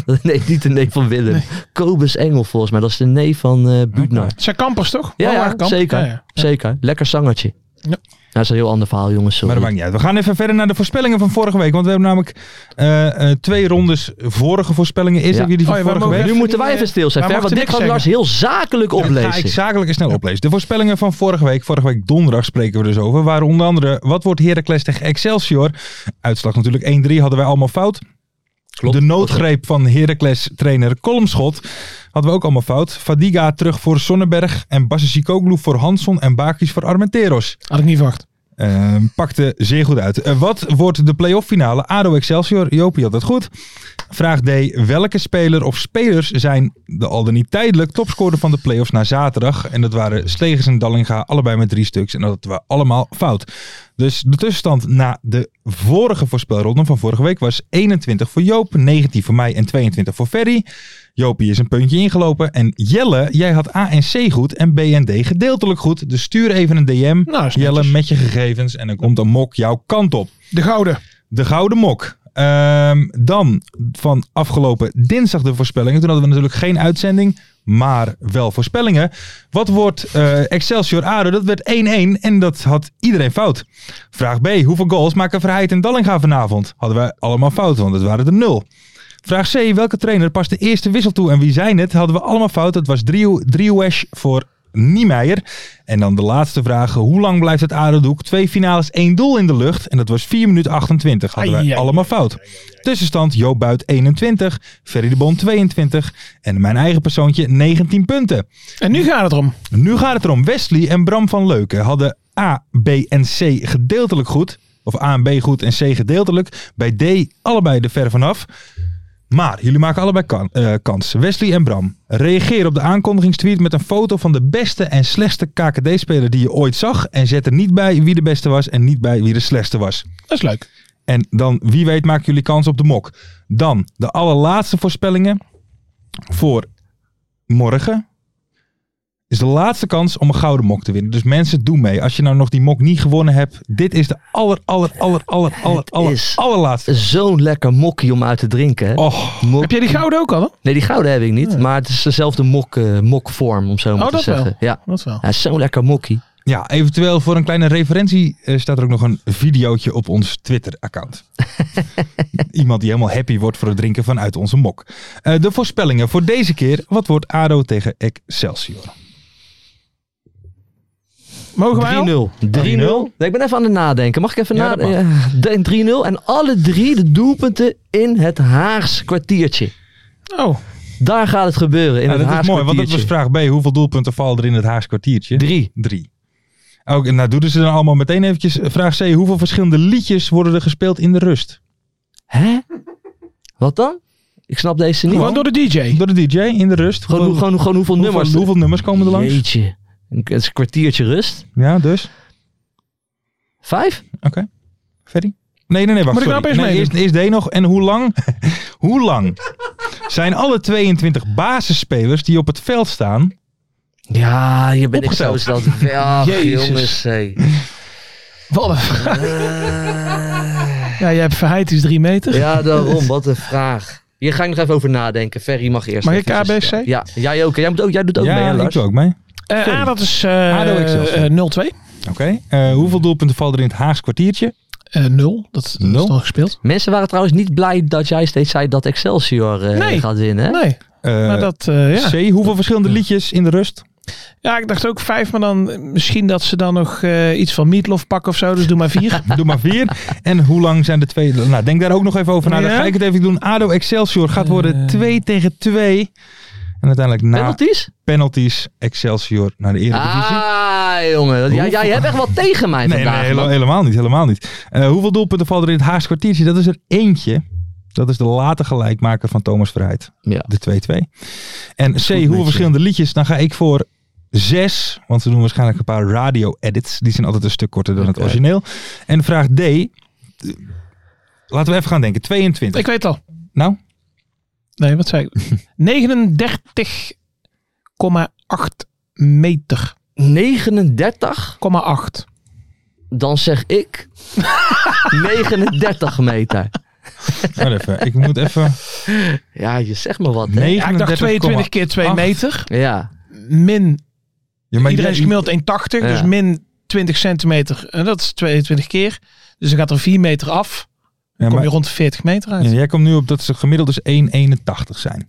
C: Nee, nee, niet de neef van Willem. Kobus Engel volgens mij. Dat is de neef van eh Buutner.
D: Het zijn kampers toch?
C: Ja, ja,
D: Walwaar kamp.
C: zeker.
D: Ja, ja.
C: Zeker. Lekker zangertje.
D: Ja.
C: Nou, dat is een heel ander verhaal, jongens.
B: maar
C: Sorry.
B: dat maakt niet uit. We gaan even verder naar de voorspellingen van vorige week. Want we hebben namelijk eh, eh, twee rondes vorige voorspellingen. Is
C: Ja.
B: ook weer die
D: Oh
B: van
D: ja, we
B: vorige
D: mogen
B: week.
C: nu
D: Even
C: moeten
D: die,
C: wij
D: eh,
C: even stil zijn,
D: wij
C: Fer, want
D: mogen
C: dit
D: niks
C: gaat Lars
D: zeggen.
C: heel zakelijk
B: Dat ga ik
C: oplezen.
B: zakelijk en snel oplezen. De voorspellingen van vorige week. Vorige week donderdag spreken we dus over. Waar onder andere, wat wordt Heracles tegen Excelsior? Uitslag natuurlijk 1-3 hadden wij allemaal fout.
C: Klopt.
B: De noodgreep van Heracles trainer Kolmschot hadden we ook allemaal fout. Fadiga terug voor Sonnenberg en Basicoglu voor Hanson en Bakis voor Armenteros.
D: Had ik niet verwacht.
B: Eh, pakte zeer goed uit. Eh, wat wordt de playoff finale? ADO Excelsior, Jopie had dat goed. Vraag D. Welke speler of spelers zijn de al dan niet tijdelijk topscorer van de playoffs na zaterdag? En dat waren Slegers en Dallinga, allebei met drie stuks. En dat hadden we allemaal fout. Dus de tussenstand na de vorige voorspelronde van vorige week was 21 voor Joop, 19 voor mij en 22 voor Ferry. Jopie is een puntje ingelopen. En Jelle, jij had A en C goed en B en D gedeeltelijk goed. Dus stuur even een DM.
D: Nou, is
B: Jelle
D: netjes.
B: met je gegevens en dan komt een mok jouw kant op.
D: De gouden.
B: De Gouden Mok. Ehm, dan van afgelopen dinsdag de voorspellingen. Toen hadden we natuurlijk geen uitzending, maar wel voorspellingen. Wat wordt eh, Excelsior Ado? Dat werd 1-1 en dat had iedereen fout. Vraag B. Hoeveel goals maken Verheid en Dallinga vanavond? Hadden wij allemaal fout, want het waren er nul. Vraag C. Welke trainer past de eerste wissel toe en wie zijn het? Hadden we allemaal fout. Dat was Drieu- Drieuwesh voor Niemeyer. En dan de laatste vraag. Hoe lang blijft het Adeldoek? Twee finales, één doel in de lucht. En dat was 4 minuten 28. Hadden wij
D: Ai, ai,
B: allemaal fout. Tussenstand Joop Buit 21, Ferry de Bon 22 en mijn eigen persoontje 19 punten.
D: En nu gaat het erom.
B: Nu gaat het erom. Wesley en Bram van Leuken hadden A, B en C gedeeltelijk goed. Of A en B goed en C gedeeltelijk. Bij D allebei de ver vanaf. Maar jullie maken allebei kan, eh, kans. Wesley en Bram. Reageer op de aankondigingstweet met een foto van de beste en slechtste KKD-speler die je ooit zag. En zet er niet bij wie de beste was en niet bij wie de slechtste was.
D: Dat is leuk.
B: En dan, wie weet, maken jullie kans op de mok. Dan de allerlaatste voorspellingen voor morgen. Is de laatste kans om een gouden mok te winnen. Dus mensen, doe mee. Als je nou nog die mok niet gewonnen hebt. Dit is de aller, aller, aller, aller, aller, aller,
C: is-
B: allerlaatste.
C: Zo'n lekker mokkie om uit te drinken. hè.
B: Oh,
C: Mok-
D: Heb jij die gouden ook al? Hè?
C: Nee, die gouden heb ik niet. Maar het is dezelfde mok, eh, mokvorm, om zo maar
D: Oh,
C: te
D: dat
C: zeggen.
D: wel.
C: Ja.
D: Dat wel.
C: ja, zo'n lekker mokkie.
B: ja, eventueel voor een kleine referentie eh, staat er ook nog een videootje op ons
C: *laughs*
B: Twitter-account. Iemand die helemaal happy wordt voor het drinken vanuit onze mok. Eh, de voorspellingen voor deze keer. Wat wordt ADO tegen Excelsior?
D: Mogen wij al?
C: 3-0. 3-0. Nee, ik ben even aan het nadenken. Mag ik even
B: Ja, dat
C: nadenken? 3-0. En alle drie de doelpunten in het Haags kwartiertje.
D: Oh,
C: Daar gaat het gebeuren. In
B: Ja,
C: het
B: Ah, dat is
C: Haags
B: mooi, want dat was
C: kwartiertje.
B: vraag B. Hoeveel doelpunten vallen er in het Haagse kwartiertje?
C: Drie.
B: Drie. Ook, nou, doen ze dan allemaal meteen eventjes. Vraag C. Hoeveel verschillende liedjes worden er gespeeld in de rust?
C: Hè? Wat dan? Ik snap deze niet.
D: gewoon door de DJ.
B: Door de DJ in de rust?
C: Gewoon,
B: Hoeveel-
C: hoe- gewoon, gewoon hoeveel,
B: hoeveel,
C: nummers.
B: hoeveel nummers komen er langs?
C: Jeetje. Een- Het is een kwartiertje rust.
B: Ja, dus.
C: Vijf?
B: Oké. Ferry? Nee, nee, nee. Wacht,
D: Moet ik nou
B: sorry.
D: opeens
B: nee, eerst,
D: meedoen?
B: eerst D nog. En hoe
D: *laughs*
B: lang? hoe lang zijn alle 22 basisspelers die op het veld staan
C: Ja, je bent ik zo is dat wel.
D: Jezus.
C: jongens. hé. *laughs*
D: Wat een vraag. Ja, jij hebt verheid is drie meter.
C: *laughs* Ja, daarom. Wat een vraag. Hier ga ik nog even over nadenken. Ferry mag eerst.
D: Mag ik
C: even-
D: KBC?
C: Ja, jij ook. Jij, moet ook, jij doet ook
B: ja,
C: mee, hè,
B: ik
C: Lars?
B: doe ook mee.
D: Eh
B: Sorry.
D: A, dat is eh,
B: ADO Excelsior.
D: eh, 0-2.
B: Oké. Eh, hoeveel doelpunten vallen er in het Haagse kwartiertje?
D: Eh 0, dat, dat
B: Nul?
D: is al gespeeld.
C: Mensen waren trouwens niet blij dat jij steeds zei dat Excelsior eh,
D: Nee.
C: gaat winnen. hè?
D: Nee,
B: Eh,
D: maar dat, eh, ja.
B: C. Hoeveel verschillende liedjes in de rust?
D: ja, ik dacht ook 5, maar dan eh, misschien dat ze dan nog eh, iets van Meatloaf pakken of zo. Dus doe maar
B: *laughs*
D: 4.
B: Doe maar
D: *laughs*
B: vier. En hoe lang zijn de twee... Nou, denk daar ook nog even over na. Dan
D: Ja? Eh.
B: ga ik het even doen. ADO Excelsior gaat worden 2 tegen 2. En uiteindelijk na penalties,
C: Penalties?
B: Excelsior naar de Eredivisie.
C: Ah, jongen. dat- Jij, jij hebt echt wat tegen mij
B: nee,
C: vandaag.
B: nee, hele-
C: man.
B: helemaal niet. Helemaal niet. Eh, hoeveel doelpunten vallen er in het Haagse kwartiertje? Dat is er eentje. Dat is de late gelijkmaker van Thomas Verheid.
C: Ja.
B: De 2-2. En C, hoeveel
C: goed, Mitchell.
B: verschillende liedjes? Dan ga ik voor zes. Want ze doen waarschijnlijk een paar radio-edits. Die zijn altijd een stuk korter dan het
C: Oké.
B: origineel. En vraag D. eh, Laten we even gaan denken. 22.
D: Ik weet het al.
B: Nou,
D: Nee, wat
B: *laughs*
D: zei ik? 39,8 meter.
C: 39,
D: 8.
C: dan zeg
B: *laughs*
C: ik 39 meter.
B: wacht even. Ik moet even...
C: Ja, je zegt me wat, hè?
D: Ja, ik dacht 22 keer 2
B: 8.
D: meter.
C: Ja.
D: Min
B: Ja, maar
D: Iedereen
B: jij-
D: is gemiddeld 1,80, dus
C: Ja.
D: min 20 centimeter. En dat is 22 keer. Dus dan gaat er 4 meter af.
B: ja,
D: Dan kom
B: maar-
D: je rond de 40 meter uit.
B: ja,
D: Ja.
B: jij komt nu op dat ze gemiddeld dus 1,81 zijn.